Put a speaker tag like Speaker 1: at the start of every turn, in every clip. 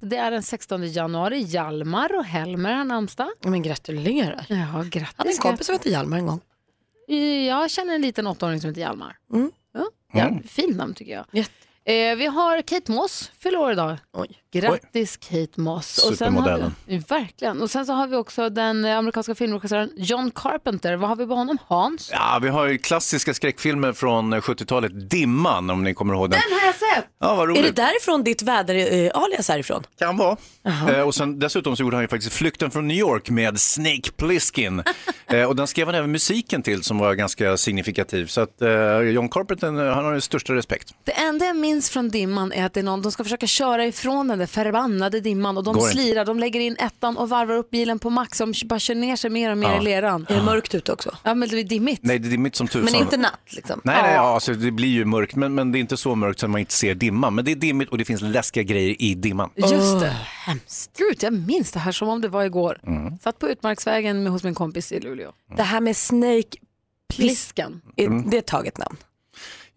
Speaker 1: Det är den 16 januari. Jalmar och Helmer har namnsdag.
Speaker 2: Ja, Men gratulerar. Jag
Speaker 1: Ja, grattis.
Speaker 2: hade en kompis som hette Hjalmar en gång.
Speaker 1: Eh, Jag känner en liten åttaåring som heter Hjalmar.
Speaker 2: Mm.
Speaker 1: Ja, ja, Fint namn tycker jag.
Speaker 2: Jätte.
Speaker 1: Eh, vi har Kate Moss, fyller år idag.
Speaker 2: Oj.
Speaker 1: Grattis Kate Moss. Och sen har vi-
Speaker 3: Supermodellen.
Speaker 1: Ja, verkligen. Och sen så har vi också den eh, amerikanska filmregissören John Carpenter. Vad har vi på honom? Hans?
Speaker 3: Ja, vi har ju klassiska skräckfilmer från 70-talet, Dimman om ni kommer ihåg den.
Speaker 1: Den har jag sett!
Speaker 3: Ja, vad
Speaker 2: Är det
Speaker 3: roligt.
Speaker 2: därifrån ditt väder-alias härifrån?
Speaker 3: Kan vara. Eh, och sen, dessutom så gjorde han ju faktiskt Flykten från New York med Snake Plissken. eh, och den skrev han även musiken till som var ganska signifikativ. Så att eh, John Carpenter, eh, han har den största respekt.
Speaker 1: Det enda jag minns från dimman är att det är någon, de ska försöka köra ifrån den där förbannade dimman och de
Speaker 3: Går inte.
Speaker 1: slirar, de lägger in ettan och varvar upp bilen på max och de bara kör ner sig mer och mer i leran.
Speaker 2: Är det mörkt ute också?
Speaker 1: Ja men det är dimmigt.
Speaker 3: Nej, det är mitt som tusan.
Speaker 2: Men inte natt liksom?
Speaker 3: Nej, nej, ja, alltså, det blir ju mörkt, men, men det är inte så mörkt som man inte ser dimman. Men det är dimmigt och det finns läskiga grejer i dimman.
Speaker 1: Just det. Hemskt. Gud, jag minns det här som om det var igår.
Speaker 3: Mm.
Speaker 1: Satt på Utmarksvägen med, hos min kompis i Luleå.
Speaker 2: Det här med Snake,
Speaker 1: Pliskan.
Speaker 2: är
Speaker 3: Mm.
Speaker 2: det är ett taget namn?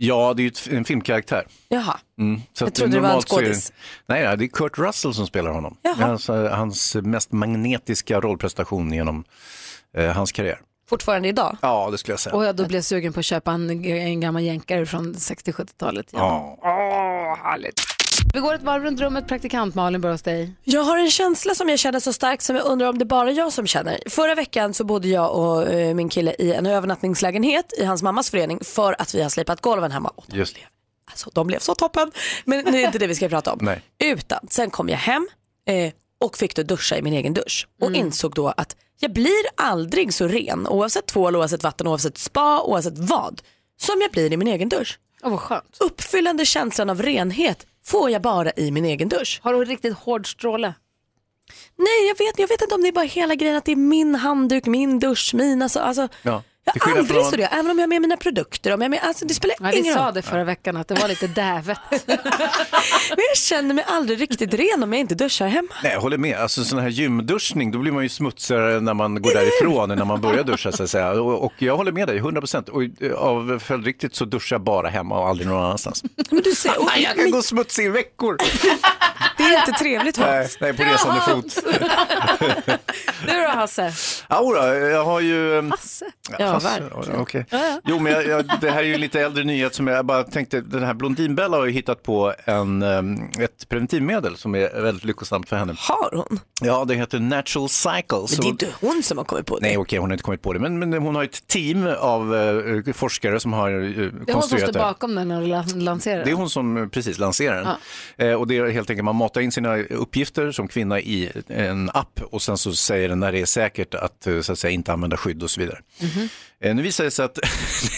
Speaker 3: Ja, det är ju ett, en filmkaraktär.
Speaker 2: Jaha.
Speaker 3: Mm. Så att
Speaker 2: trodde det var
Speaker 3: normalt
Speaker 2: en
Speaker 3: så är
Speaker 2: skådis.
Speaker 3: Nej, nej, det är Kurt Russell som spelar honom.
Speaker 2: Jaha.
Speaker 3: Det är Alltså, hans mest magnetiska rollprestation genom eh, hans karriär.
Speaker 2: Fortfarande idag?
Speaker 3: Ja, det skulle jag säga.
Speaker 1: Och jag då blev jag sugen på att köpa en, en gammal jänkare från 60-70-talet. igen.
Speaker 3: Ja.
Speaker 1: Vi går ett varv runt rummet. Praktikant Malin börjar hos dig.
Speaker 2: Jag har en känsla som jag känner så starkt som jag undrar om det bara är jag som känner. Förra veckan så bodde jag och eh, min kille i en övernattningslägenhet i hans mammas förening för att vi har slipat golven hemma. Och de,
Speaker 3: Just.
Speaker 2: alltså, de blev så toppen. Men det är inte det vi ska prata om.
Speaker 3: Nej.
Speaker 2: Utan sen kom jag hem eh, och fick då duscha i min egen dusch och insåg då att jag blir aldrig så ren oavsett tvål, oavsett vatten, oavsett spa, oavsett vad som jag blir i min egen dusch.
Speaker 1: Åh vad skönt.
Speaker 2: Uppfyllande känslan av renhet får jag bara i min egen dusch.
Speaker 1: Har du en riktigt hård stråle?
Speaker 2: Nej, jag vet, jag vet inte om det är bara hela grejen att det är min handduk, min dusch, min. Alltså, alltså,
Speaker 3: Ja, till
Speaker 2: Jag är
Speaker 3: skillnad
Speaker 2: aldrig
Speaker 3: från-
Speaker 2: så det, även om jag har med mina produkter. Om jag har med, alltså, det spelar
Speaker 1: Ja, vi
Speaker 2: ingen
Speaker 1: sa
Speaker 2: roll.
Speaker 1: det förra veckan att det var lite dävet.
Speaker 2: Men jag känner mig aldrig riktigt ren om jag inte duschar hemma.
Speaker 3: Nej, jag håller med. Alltså sån här gymduschning, då blir man ju smutsigare när man går därifrån än när man börjar duscha så att säga. Och, och jag håller med dig, 100 procent. Och eh, av följdriktigt så duschar jag bara hemma och aldrig någon annanstans.
Speaker 2: Men du ser, och,
Speaker 3: Nej, jag kan gå smutsig i veckor.
Speaker 2: det är inte trevligt. va?
Speaker 3: Nej, nej, på resande fot.
Speaker 1: Du då Hasse?
Speaker 3: Ja, då, jag har ju... ehm,
Speaker 1: Hasse.
Speaker 2: Ja,
Speaker 3: Hasse,
Speaker 2: verkligen.
Speaker 3: okej. Jo, men jag, jag, det här är ju en lite äldre nyhet som jag bara tänkte, den här Blondinbella har ju hittat på en, ehm, ett preventivmedel som är väldigt lyckosamt för henne.
Speaker 2: Har hon?
Speaker 3: Ja, det heter Natural Cycle.
Speaker 2: Men
Speaker 3: så-
Speaker 2: det är inte hon som har kommit på det.
Speaker 3: Nej, okej, hon har inte kommit på det, men, men hon har ett team av eh, forskare som har eh,
Speaker 1: Det är hon som står
Speaker 3: konstruerat det. här.
Speaker 1: bakom den när du la- lanserar
Speaker 3: Det är
Speaker 1: den.
Speaker 3: hon som eh, precis lanserar den. Eh, och det är helt enkelt, man matar in sina uppgifter som kvinna i en app och sen så säger den när det är säkert att, eh, så att säga, inte använda skydd och så vidare.
Speaker 2: Mhm.
Speaker 3: Eh, nu visar det sig att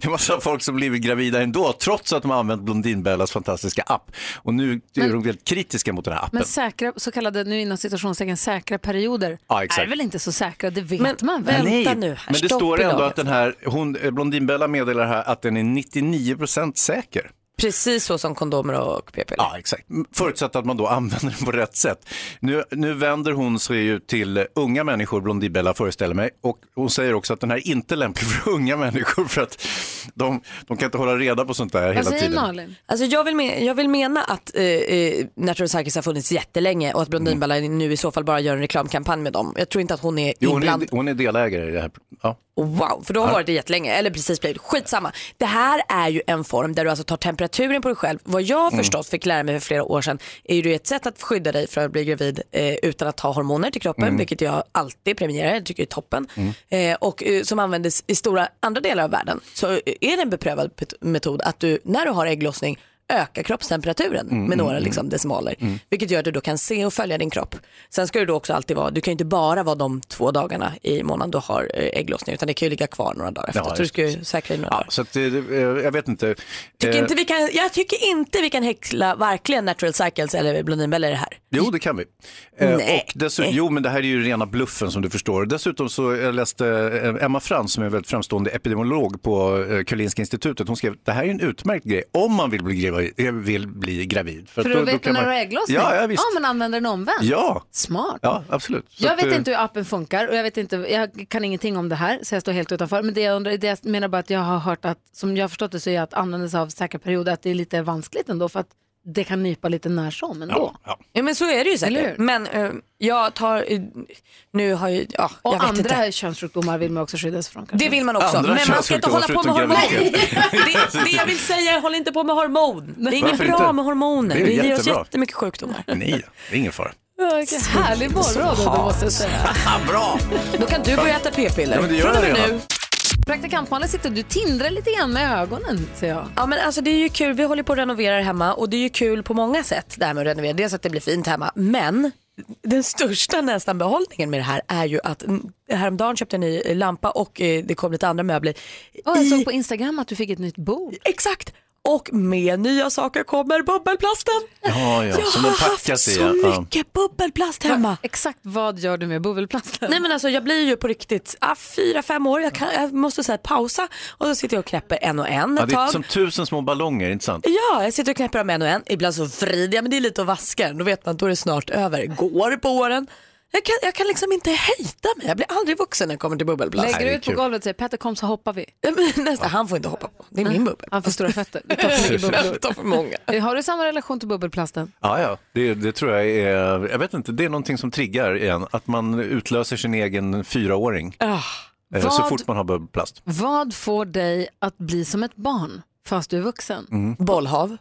Speaker 3: det är massa folk som blivit gravida ändå, trots att de har använt Blondinbellas fantastiska app. Och nu är de väldigt kritiska mot den här appen.
Speaker 1: Men säkra, så kallade, nu inom citationstecken, säkra perioder
Speaker 3: Ja, exakt.
Speaker 1: är väl inte så säkra, det vet
Speaker 2: Men-
Speaker 1: man väl?
Speaker 2: Nej. Vänta nu här,
Speaker 3: men det
Speaker 2: stopp
Speaker 3: står
Speaker 2: i
Speaker 3: ändå
Speaker 2: laget.
Speaker 3: att den här, hon, eh, Blondinbella meddelar här att den är 99% säker.
Speaker 2: Precis så som kondomer och p-piller.
Speaker 3: Ja, exakt. Förutsatt att man då använder den på rätt sätt. Nu, nu vänder hon sig ju till unga människor, Blondinbella föreställer mig. Och hon säger också att den här är inte lämplig för unga människor för att de, de kan inte hålla reda på sånt där
Speaker 1: Vad
Speaker 3: hela
Speaker 1: säger
Speaker 3: tiden.
Speaker 1: Malin?
Speaker 2: Alltså jag, vill men, jag vill mena att eh, eh, Natural Cycles har funnits jättelänge och att Blondinbella nu i så fall bara gör en reklamkampanj med dem. Jag tror inte att hon är
Speaker 3: Jo, hon,
Speaker 2: inblandad.
Speaker 3: är, hon är delägare i det här. Ja.
Speaker 2: Wow, för då har varit det jättelänge. Eller precis blivit. Skitsamma. Det här är ju en form där du alltså tar temperaturen på dig själv. Vad jag har förstått fick lära mig för flera år sedan är ju det ett sätt att skydda dig från att bli gravid eh, utan att ta hormoner till kroppen, vilket jag alltid premierar, jag tycker är toppen. Eh, och eh, som användes i stora andra delar av världen. Så eh, är det en beprövad pet- metod att du, när du har ägglossning, ökar kroppstemperaturen
Speaker 3: Mm,
Speaker 2: med några liksom, decimaler. Vilket gör att du då kan se och följa din kropp. Sen ska du då också alltid vara, du kan ju inte bara vara de två dagarna i månaden du har eh, ägglossning utan det kan ju ligga kvar några dagar efter.
Speaker 3: Ja,
Speaker 2: så du
Speaker 3: just
Speaker 2: ska ju säkra dig några
Speaker 3: Ja,
Speaker 2: dagar.
Speaker 3: så att, eh, jag vet inte.
Speaker 2: Tycker
Speaker 3: Eh,
Speaker 2: inte vi kan, jag tycker inte vi kan häckla varken Natural Cycles eller Blondinbella i det här.
Speaker 3: Jo, det kan vi. Eh,
Speaker 2: Nej.
Speaker 3: Och dessutom, jo, men det här är ju rena bluffen som du förstår. Dessutom så jag läste eh, Emma Frans som är en väldigt framstående epidemiolog på eh, Karolinska institutet. Hon skrev det här är ju en utmärkt grej om man vill bli, gravid- eh, vill bli gravid.
Speaker 1: För
Speaker 3: att
Speaker 1: att veta när du har ägglossning?
Speaker 3: Ja, ja, visst.
Speaker 1: ja, men använder den omvänt?
Speaker 3: Ja.
Speaker 1: Smart.
Speaker 3: ja, absolut. Så
Speaker 1: Jag
Speaker 3: att,
Speaker 1: vet
Speaker 3: eh,
Speaker 1: inte hur appen funkar och jag, vet inte, jag kan ingenting om det här så jag står helt utanför. Men det jag, undrar, det jag menar bara att jag har hört att, som jag har förstått det så är att använda sig av säkra perioder att det är lite vanskligt ändå för att det kan nypa lite när som ändå.
Speaker 3: Ja, ja.
Speaker 2: Ja men så är det ju
Speaker 1: Eller hur?
Speaker 2: säkert. Men eh, jag tar, eh, nu har ju, ja jag
Speaker 1: Och
Speaker 2: vet inte.
Speaker 1: andra könssjukdomar vill man också skyddas från. kanske.
Speaker 2: Det vill man också.
Speaker 3: Andra
Speaker 2: men man ska inte
Speaker 3: könssjukdomar
Speaker 2: hålla på med
Speaker 3: förutom
Speaker 2: hormon.
Speaker 3: graviditet.
Speaker 2: det, det jag vill säga är håll inte på med hormon. Det är inget
Speaker 3: Varför
Speaker 2: bra
Speaker 3: inte?
Speaker 2: med hormoner.
Speaker 3: Det är
Speaker 2: Det ger oss
Speaker 3: jättebra. Mm.
Speaker 2: jättemycket sjukdomar.
Speaker 3: Nej, det är ingen fara.
Speaker 1: Vilken härlig morgon då, måste jag säga.
Speaker 3: Ah, bra!
Speaker 2: Då kan du börja äta p-piller.
Speaker 3: Ja, men det gör
Speaker 2: Från och med
Speaker 3: jag redan.
Speaker 2: nu.
Speaker 1: Praktikant Malin sitter du tindrar lite grann med ögonen ser jag.
Speaker 2: Ja men alltså det är ju kul, vi håller på att renovera här hemma och det är ju kul på många sätt det här med att renovera. Dels att det blir fint hemma men den största nästan behållningen med det här är ju att mm, häromdagen köpte jag en ny lampa och eh, det kom lite andra möbler.
Speaker 1: Och jag
Speaker 2: i-
Speaker 1: såg på Instagram att du fick ett nytt bord.
Speaker 2: Exakt. Och med nya saker kommer bubbelplasten.
Speaker 3: Ja, ja,
Speaker 2: jag
Speaker 3: som
Speaker 2: har
Speaker 3: den
Speaker 2: haft
Speaker 3: packas i,
Speaker 2: så
Speaker 3: ja.
Speaker 2: mycket bubbelplast hemma.
Speaker 1: Exakt vad gör du med bovelplasten?
Speaker 2: Nej men alltså jag blir ju på riktigt ah, fyra, fem år. Jag, kan, jag måste så här, pausa och så sitter jag och knäpper en och en
Speaker 3: Ja,
Speaker 2: ett
Speaker 3: det är
Speaker 2: tag.
Speaker 3: som tusen små ballonger, inte sant?
Speaker 2: Ja, jag sitter och knäpper dem en och en. Ibland så vrider jag, men det är lite att vaska den. Då vet man att då är det snart över. Går på åren. Jag kan, jag kan liksom inte hejda mig. Jag blir aldrig vuxen när jag kommer till bubbelplast.
Speaker 1: Lägger
Speaker 3: det
Speaker 1: du
Speaker 3: är
Speaker 1: ut på
Speaker 3: kul.
Speaker 1: golvet och säger Petter kom så hoppar vi.
Speaker 2: Ja, men Nästa, han får inte hoppa på. Det är min bubbel.
Speaker 1: Han får stora fötter. Det tar för mycket bubblor.
Speaker 2: Jag tar för många.
Speaker 1: Har du samma relation till bubbelplasten?
Speaker 3: Ja, ja. Det, det tror jag är, jag vet inte, det är någonting som triggar igen, att man utlöser sin egen fyraåring eh, så
Speaker 1: vad-
Speaker 3: fort man har bubbelplast.
Speaker 1: Vad får dig att bli som ett barn fast du är vuxen?
Speaker 2: Mm. Bollhav.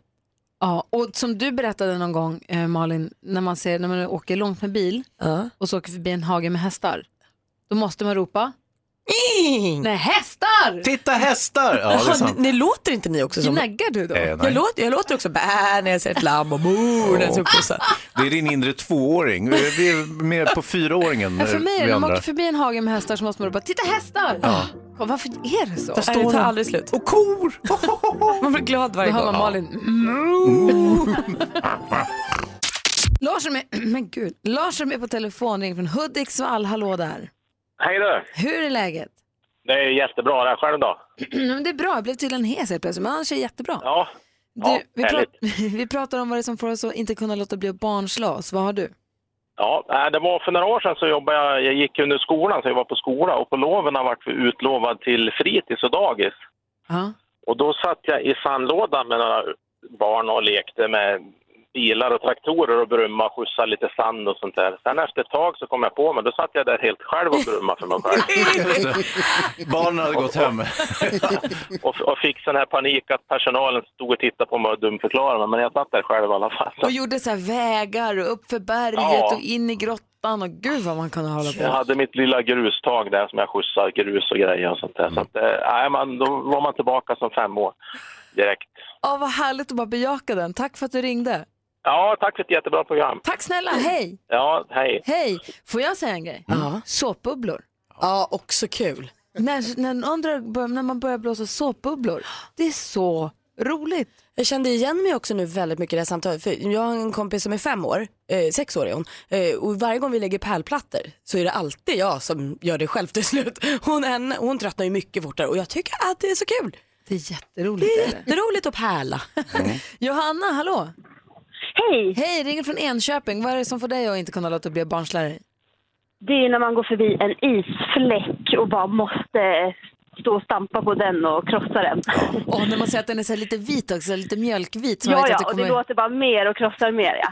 Speaker 1: Ja, och som du berättade någon gång eh, Malin, när man, ser, när man åker långt med bil
Speaker 2: Ja.
Speaker 1: och så åker förbi en hage med hästar, då måste man ropa Nej, hästar!
Speaker 3: Titta hästar! Ja, det är
Speaker 2: Jaha,
Speaker 3: sant.
Speaker 2: ni, ni låter inte ni också som...
Speaker 1: Gnäggar du då?
Speaker 3: Eh,
Speaker 2: Jag
Speaker 3: nej.
Speaker 2: låter, jag låter också bä när jag ser ett lamm och mo när jag ser kossan.
Speaker 3: Det är din inre tvååring. Vi vi är mer på fyraåringen.
Speaker 1: Ja, för
Speaker 3: eh,
Speaker 1: mig är
Speaker 3: vi
Speaker 1: det, när man
Speaker 3: andra.
Speaker 1: åker förbi en hage med hästar så måste man ropa Titta hästar! Kom, Varför är det så?
Speaker 2: Nej, Det tar aldrig slut.
Speaker 3: Och kor!
Speaker 2: Man blir glad varje
Speaker 1: Då hör
Speaker 2: gång.
Speaker 1: man Malin. Mm. Lars är med, men gud. Lars är med på telefon, ringer från Hudiksvall. Hallå där.
Speaker 4: Hej du!
Speaker 1: Hur är läget?
Speaker 4: Det är jättebra där själv då.
Speaker 1: Men det är bra, jag blev tydligen hes helt plötsligt, men annars är det jättebra.
Speaker 4: Ja, ja
Speaker 1: du, vi,
Speaker 4: härligt.
Speaker 1: pratar- vi pratar om vad det är som får oss att inte kunna låta bli att barnslås. Vad har du?
Speaker 4: Ja, äh, det var för några år sedan så jobbade jag, jag gick under skolan, så jag var på skola och på loven har jag varit utlovad till fritids och dagis.
Speaker 1: Ja.
Speaker 4: Och då satt jag i sandlådan med några barn och lekte med bilar och traktorer och brumma och skjutsade lite sand och sånt där. Sen efter ett tag så kom jag på mig, då satt jag där helt själv och brumma för mig själv.
Speaker 3: Just det. Barnen hade gått hem.
Speaker 4: Och, och fick sån här panik att personalen stod och tittade på mig och dumförklarade mig, men jag satt där själv i alla fall.
Speaker 1: Och gjorde så här vägar och upp för berget
Speaker 4: Ja.
Speaker 1: och in i grottan och gud vad man kunde hålla på.
Speaker 4: Jag hade mitt lilla grustag där som jag skjutsade grus och grejer och sånt där. Så att, eh, nej, man, då var man tillbaka som fem år direkt.
Speaker 1: Ja, vad härligt att bara bejaka den. Tack för att du ringde.
Speaker 4: Ja, tack för ett jättebra program.
Speaker 1: Tack snälla, hej!
Speaker 4: Ja, hej.
Speaker 1: Hej! Får jag säga en grej? Såpbubblor.
Speaker 2: Ja, också kul.
Speaker 1: När, när, någon drar, bör- när man börjar blåsa såpbubblor, det är så roligt.
Speaker 2: Jag kände igen mig också nu väldigt mycket i det här samtalet. För jag har en kompis som är fem år, eh, sex år är hon. Eh, och varje gång vi lägger pärlplattor så är det alltid jag som gör det själv till slut. Hon, henne, hon tröttnar ju mycket fortare och jag tycker att det är så kul.
Speaker 1: Det är jätteroligt.
Speaker 2: Det
Speaker 1: Det
Speaker 2: är jätteroligt att pärla.
Speaker 1: Johanna, hallå!
Speaker 5: Hej!
Speaker 1: Hej, ringer från Enköping. Vad är det som får dig att inte kunna låta bli att barnsla dig?
Speaker 5: Det är ju när man går förbi en isfläck och bara måste stå och stampa på den och krossa den.
Speaker 1: Och när man säger att den är så här lite vit också, lite mjölkvit. Så man
Speaker 5: Ja,
Speaker 1: vet att
Speaker 5: ja, och det
Speaker 1: kommer-
Speaker 5: låter bara mer och krossar mer, ja.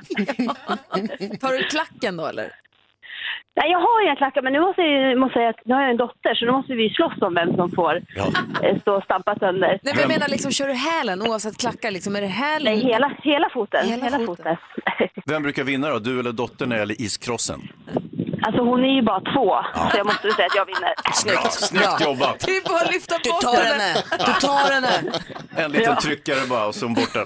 Speaker 1: Tar du klacken då eller?
Speaker 5: Nej, jag har inga klackar, men nu måste jag ju- måste säga att nu har jag en dotter, så nu måste vi slåss om vem som får eh, stå och stampa sönder.
Speaker 1: Nej, men jag menar liksom, kör du hälen oavsett klackar? Liksom, är det hälen?
Speaker 5: Nej, hela, hela foten.
Speaker 1: Hela
Speaker 5: Hela,
Speaker 1: foten.
Speaker 5: foten.
Speaker 3: Vem brukar vinna då, du eller dottern när det gäller iskrossen?
Speaker 5: Alltså hon är ju bara två, så jag måste väl säga att jag vinner.
Speaker 3: Bra, snyggt jobbat.
Speaker 6: Det är
Speaker 1: Typ
Speaker 6: bara att lyfta
Speaker 2: Du
Speaker 6: bort
Speaker 2: tar henne, du tar henne.
Speaker 3: En liten tryckare bara och så bort den.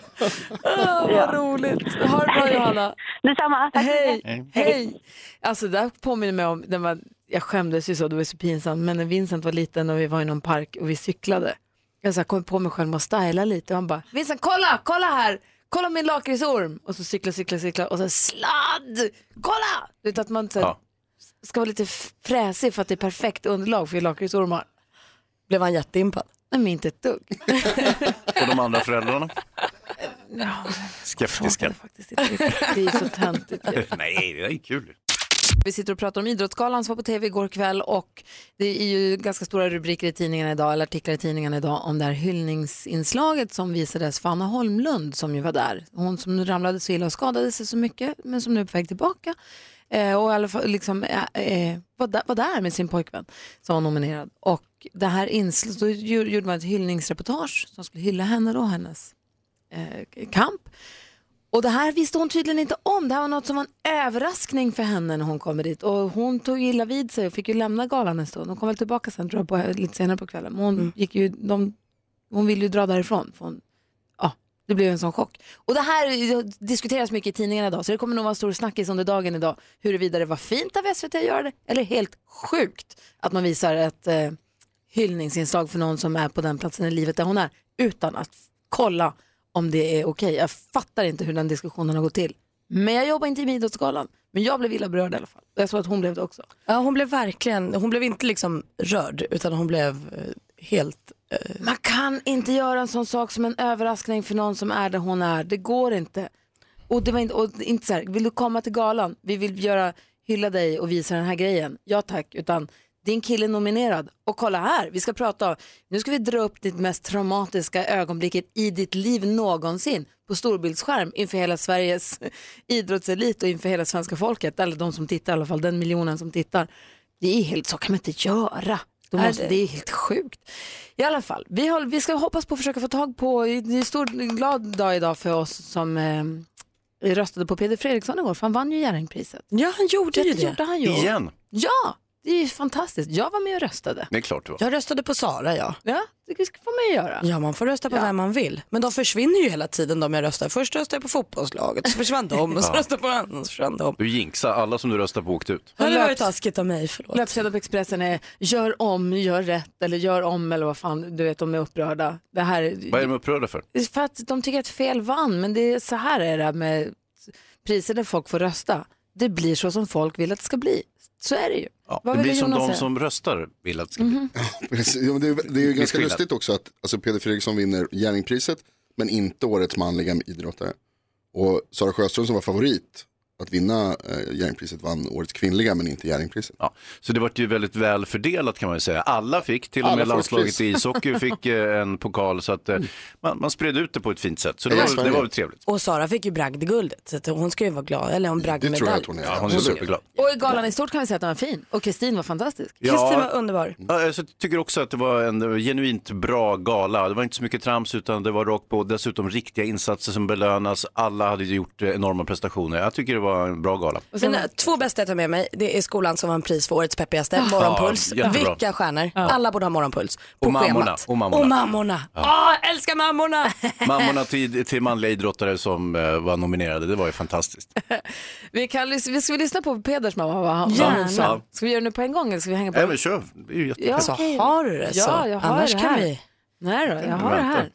Speaker 6: Ah, vad roligt. Ha det bra Johanna.
Speaker 5: Detsamma, tack så mycket.
Speaker 1: Hej! Hej! Alltså det här påminner mig om, den var, jag skämdes ju så, det var så pinsamt, men när Vincent var liten och vi var i någon park och vi cyklade, jag så här, kom på mig själv med att styla lite och han bara, Vincent kolla, kolla här, kolla min lakritsorm! Och så cykla, cykla, cykla och så här, sladd, kolla! Du vet att man så här,
Speaker 3: Ja.
Speaker 1: ska vara lite fräsig för att det är perfekt underlag för lakritsormar.
Speaker 2: Blev han jätteimpad?
Speaker 1: Nej men inte ett dugg.
Speaker 3: Och de andra föräldrarna? Skeptiska.
Speaker 1: Faktiskt inte riktigt. Det är så töntigt.
Speaker 3: Nej, det är kul.
Speaker 1: Vi sitter och pratar om Idrottsgalan som var på tv igår kväll och det är ju ganska stora rubriker i tidningarna idag, eller artiklar i tidningarna idag om det här hyllningsinslaget som visades för Anna Holmlund som ju var där. Hon som ramlade så illa och skadade sig så mycket men som nu är på väg tillbaka eh, och i alla fall liksom, eh, eh, var, där, var där med sin pojkvän som var nominerad. Och det här insl- då gj- gjorde man ett hyllningsreportage som skulle hylla henne då, hennes eh, kamp. Och det här visste hon tydligen inte om. Det här var något som var en överraskning för henne när hon kommer dit. Och hon tog illa vid sig och fick ju lämna galan en stund. Hon kom väl tillbaka sen tror jag, på, lite senare på kvällen. Men hon, gick ju, de, hon ville ju dra därifrån. För hon, ja, det blev en sån chock. Och det här diskuteras mycket i tidningarna idag. Så det kommer nog vara en stor snackis under dagen idag. Huruvida det var fint av SVT att göra det. Eller helt sjukt att man visar ett eh, hyllningsinslag för någon som är på den platsen i livet där hon är. Utan att kolla om det är okej. Jag fattar inte hur den diskussionen har gått till. Men jag jobbar inte i Idrottsgalan. Men jag blev illa berörd i alla fall. Jag såg att hon blev det också.
Speaker 2: Ja, hon blev verkligen, hon blev inte liksom rörd utan hon blev eh, helt, eh,
Speaker 1: Man kan inte göra en sån sak som en överraskning för någon som är där hon är. Det går inte. Och det var inte, och inte så här, vill du komma till galan? Vi vill göra, hylla dig och visa den här grejen. Ja tack, utan din kille är nominerad. Och kolla här, vi ska prata, om- nu ska vi dra upp ditt mest traumatiska ögonblicket i ditt liv någonsin på storbildsskärm inför hela Sveriges idrottselit och inför hela svenska folket, eller de som tittar i alla fall, den miljonen som tittar. Det är helt, så kan man inte göra. Då
Speaker 2: Nej,
Speaker 1: måste,
Speaker 2: det-
Speaker 1: det är helt sjukt. I alla fall, vi, håll, vi ska hoppas på att försöka få tag på, det är en stor glad dag idag för oss som eh, röstade på Peder Fredriksson igår, för han vann ju Jerringpriset.
Speaker 2: ja han gjorde ju
Speaker 1: Det
Speaker 2: det.
Speaker 1: gjorde han ju.
Speaker 3: Igen?
Speaker 1: Ja, det är ju fantastiskt. Jag var med och röstade.
Speaker 3: Det är klart du var.
Speaker 2: Jag röstade på Sara ja.
Speaker 1: Ja, det ska- får man ju göra.
Speaker 2: Ja man får rösta på vem man vill. Men de försvinner ju hela tiden de jag röstar. Först röstar jag på fotbollslaget, så försvann de och så röstade jag på en annan och så försvann de.
Speaker 3: Du jinxade, alla som du röstade på åkte ut.
Speaker 2: Ja, det var ju
Speaker 1: Löps-
Speaker 2: taskigt av mig, förlåt.
Speaker 1: Löpsedeln på Expressen är gör om, gör rätt eller gör om eller vad fan, du vet de är upprörda. Det här
Speaker 3: Vad är de upprörda för?
Speaker 1: För att de tycker att fel vann, men det är så här är det med priser där folk får rösta. Det blir så som folk vill att det ska bli. Så är det ju.
Speaker 3: Ja.
Speaker 1: Vad
Speaker 3: Det blir
Speaker 1: ville
Speaker 3: som
Speaker 1: Jonas
Speaker 3: de
Speaker 1: säga?
Speaker 3: som röstar vill att det ska bli.
Speaker 7: Precis. Ja, men det, är, det är ju ganska
Speaker 3: skillnad.
Speaker 7: lustigt också att alltså, Peder Fredriksson vinner Jerringpriset men inte årets manliga idrottare. Och Sara Sjöström som var favorit att vinna eh, Jerringpriset vann årets kvinnliga men inte Jerringpriset.
Speaker 3: Ja. Så det vart ju väldigt väl fördelat kan man ju säga. Alla fick, till och
Speaker 7: Alla
Speaker 3: med
Speaker 7: får ett
Speaker 3: landslaget
Speaker 7: pris.
Speaker 3: i ishockey fick eh, en pokal så att eh, man, man spred ut det på ett fint sätt. Så det
Speaker 7: Ja,
Speaker 3: var,
Speaker 7: Sverige.
Speaker 3: det var väl trevligt.
Speaker 2: Och Sara fick ju bragdguldet, så att hon ska ju vara glad. Eller hon
Speaker 7: Det tror jag att
Speaker 2: bragdmedalj.
Speaker 7: hon är.
Speaker 3: Ja, hon är superglad.
Speaker 1: Och i galan i stort kan vi säga att den var fin. Och Kristin var fantastisk.
Speaker 2: Kristin
Speaker 3: Ja,
Speaker 2: var underbar.
Speaker 3: Ja, jag så tycker också att det var en eh, genuint bra gala. Det var inte så mycket trams utan det var rakt på. Dessutom riktiga insatser som belönas. Alla hade ju gjort eh, enorma prestationer. Jag tycker det var en bra gala.
Speaker 2: Mina två bästa jag tar med mig, det är skolan som vann pris för årets peppigaste, morgonpuls.
Speaker 3: Ja, jättebra.
Speaker 2: Vilka stjärnor. Alla borde ha morgonpuls. På
Speaker 3: Och mammorna,
Speaker 2: schemat.
Speaker 3: och mammorna.
Speaker 2: Och mammorna. Åh, älskar mammorna!
Speaker 3: Mammorna till, till manliga idrottare som eh, var nominerade, det var ju fantastiskt.
Speaker 1: Vi, kan, lys- vi ska vi lyssna på Peders mamma? Vad han,
Speaker 3: Gärna.
Speaker 1: vad hon sa. Ska vi göra det nu på en gång eller ska vi hänga på?
Speaker 3: Nej men kör, det är ju jättekul.
Speaker 1: Ja,
Speaker 2: Så
Speaker 1: okej.
Speaker 2: har du det så.
Speaker 1: Ja, jag har
Speaker 2: Annars
Speaker 1: det
Speaker 2: kan
Speaker 1: här.
Speaker 2: vi.
Speaker 1: Nej då, jag har det
Speaker 3: vänta.
Speaker 1: här.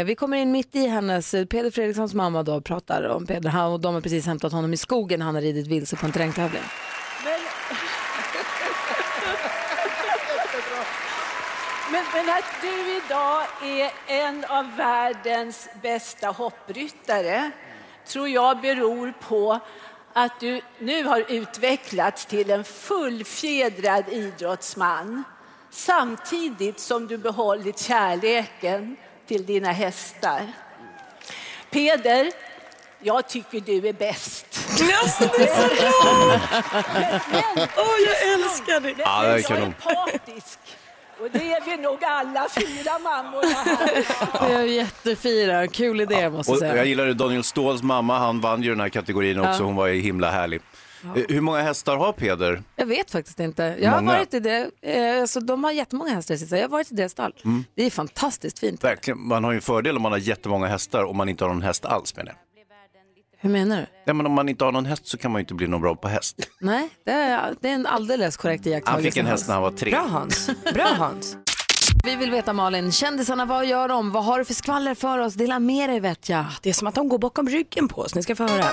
Speaker 1: Eh, vi kommer in mitt i hennes, eh, Peder Fredrikssons mamma då pratar om Peder. Han, och de har precis hämtat honom i skogen, han har ridit vilse på en terrängtävling.
Speaker 6: Men, men att du idag är en av världens bästa hoppryttare tror jag beror på att du nu har utvecklats till en fullfjädrad idrottsman samtidigt som du behållit kärleken till dina hästar. Peder, jag tycker du är bäst.
Speaker 2: Alltså, det är så
Speaker 6: Men,
Speaker 2: Åh, jag älskar det.
Speaker 6: Men
Speaker 3: Ja, det är
Speaker 6: jag
Speaker 3: kanon.
Speaker 6: är partisk. Och det är vi nog alla fyra mammor här.
Speaker 1: Det är jättefina, kul idé måste jag
Speaker 3: Och
Speaker 1: säga.
Speaker 3: jag gillade Daniel Ståhls mamma, han vann ju den här kategorin också, hon var ju himla härlig. Eh, Hur många hästar har Peder?
Speaker 1: Jag vet faktiskt inte. Jag har
Speaker 3: Många.
Speaker 1: varit i det, eh, alltså, de har jättemånga hästar i sitt stall. Jag har varit i det stall. Det är fantastiskt fint.
Speaker 3: Verkligen, man har ju en fördel om man har jättemånga hästar och man inte har någon häst alls menar jag.
Speaker 1: Hur menar du?
Speaker 3: Ja, men om man inte har någon häst så kan man ju inte bli någon bra på häst.
Speaker 1: Nej, det är, det är en alldeles korrekt iakttagelse.
Speaker 3: Han fick en häst när han var tre.
Speaker 2: Bra Hans. Bra Hans.
Speaker 1: Vi vill veta Malin, kändisarna, vad gör de? Vad har du för skvaller för oss? Dela med dig vet jag.
Speaker 2: Det är som att de går bakom ryggen på oss. Ni ska få höra.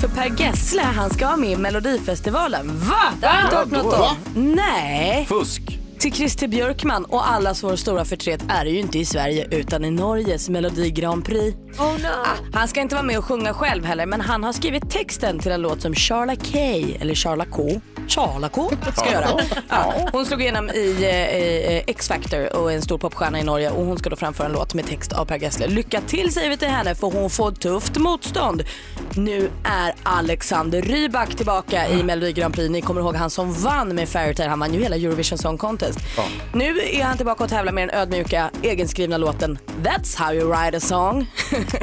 Speaker 2: För Per Gessle, han ska vara med i Melodifestivalen. Va? Det har inte hört något om. Nej.
Speaker 3: Fusk!
Speaker 2: Till Christer Björkman och allas vår stora förtret är det ju inte i Sverige utan i Norges Melodi Grand Prix. Ah, han ska inte vara med och sjunga själv heller men han har skrivit texten till en låt som Charla K, eller Charla K, Charla K ska göra. Ja, hon slog igenom i, eh, i eh, X-Factor och är en stor popstjärna i Norge och hon ska då framföra en låt med text av Per Gessle. Lycka till säger vi till henne för hon får tufft motstånd. Nu är Alexander Rybak tillbaka i Melodi Grand Prix. Ni kommer ihåg han som vann med Fairytale, han vann ju hela Eurovision Song Contest. Nu är han tillbaka och tävlar med den ödmjuka egenskrivna låten That's how you write a song.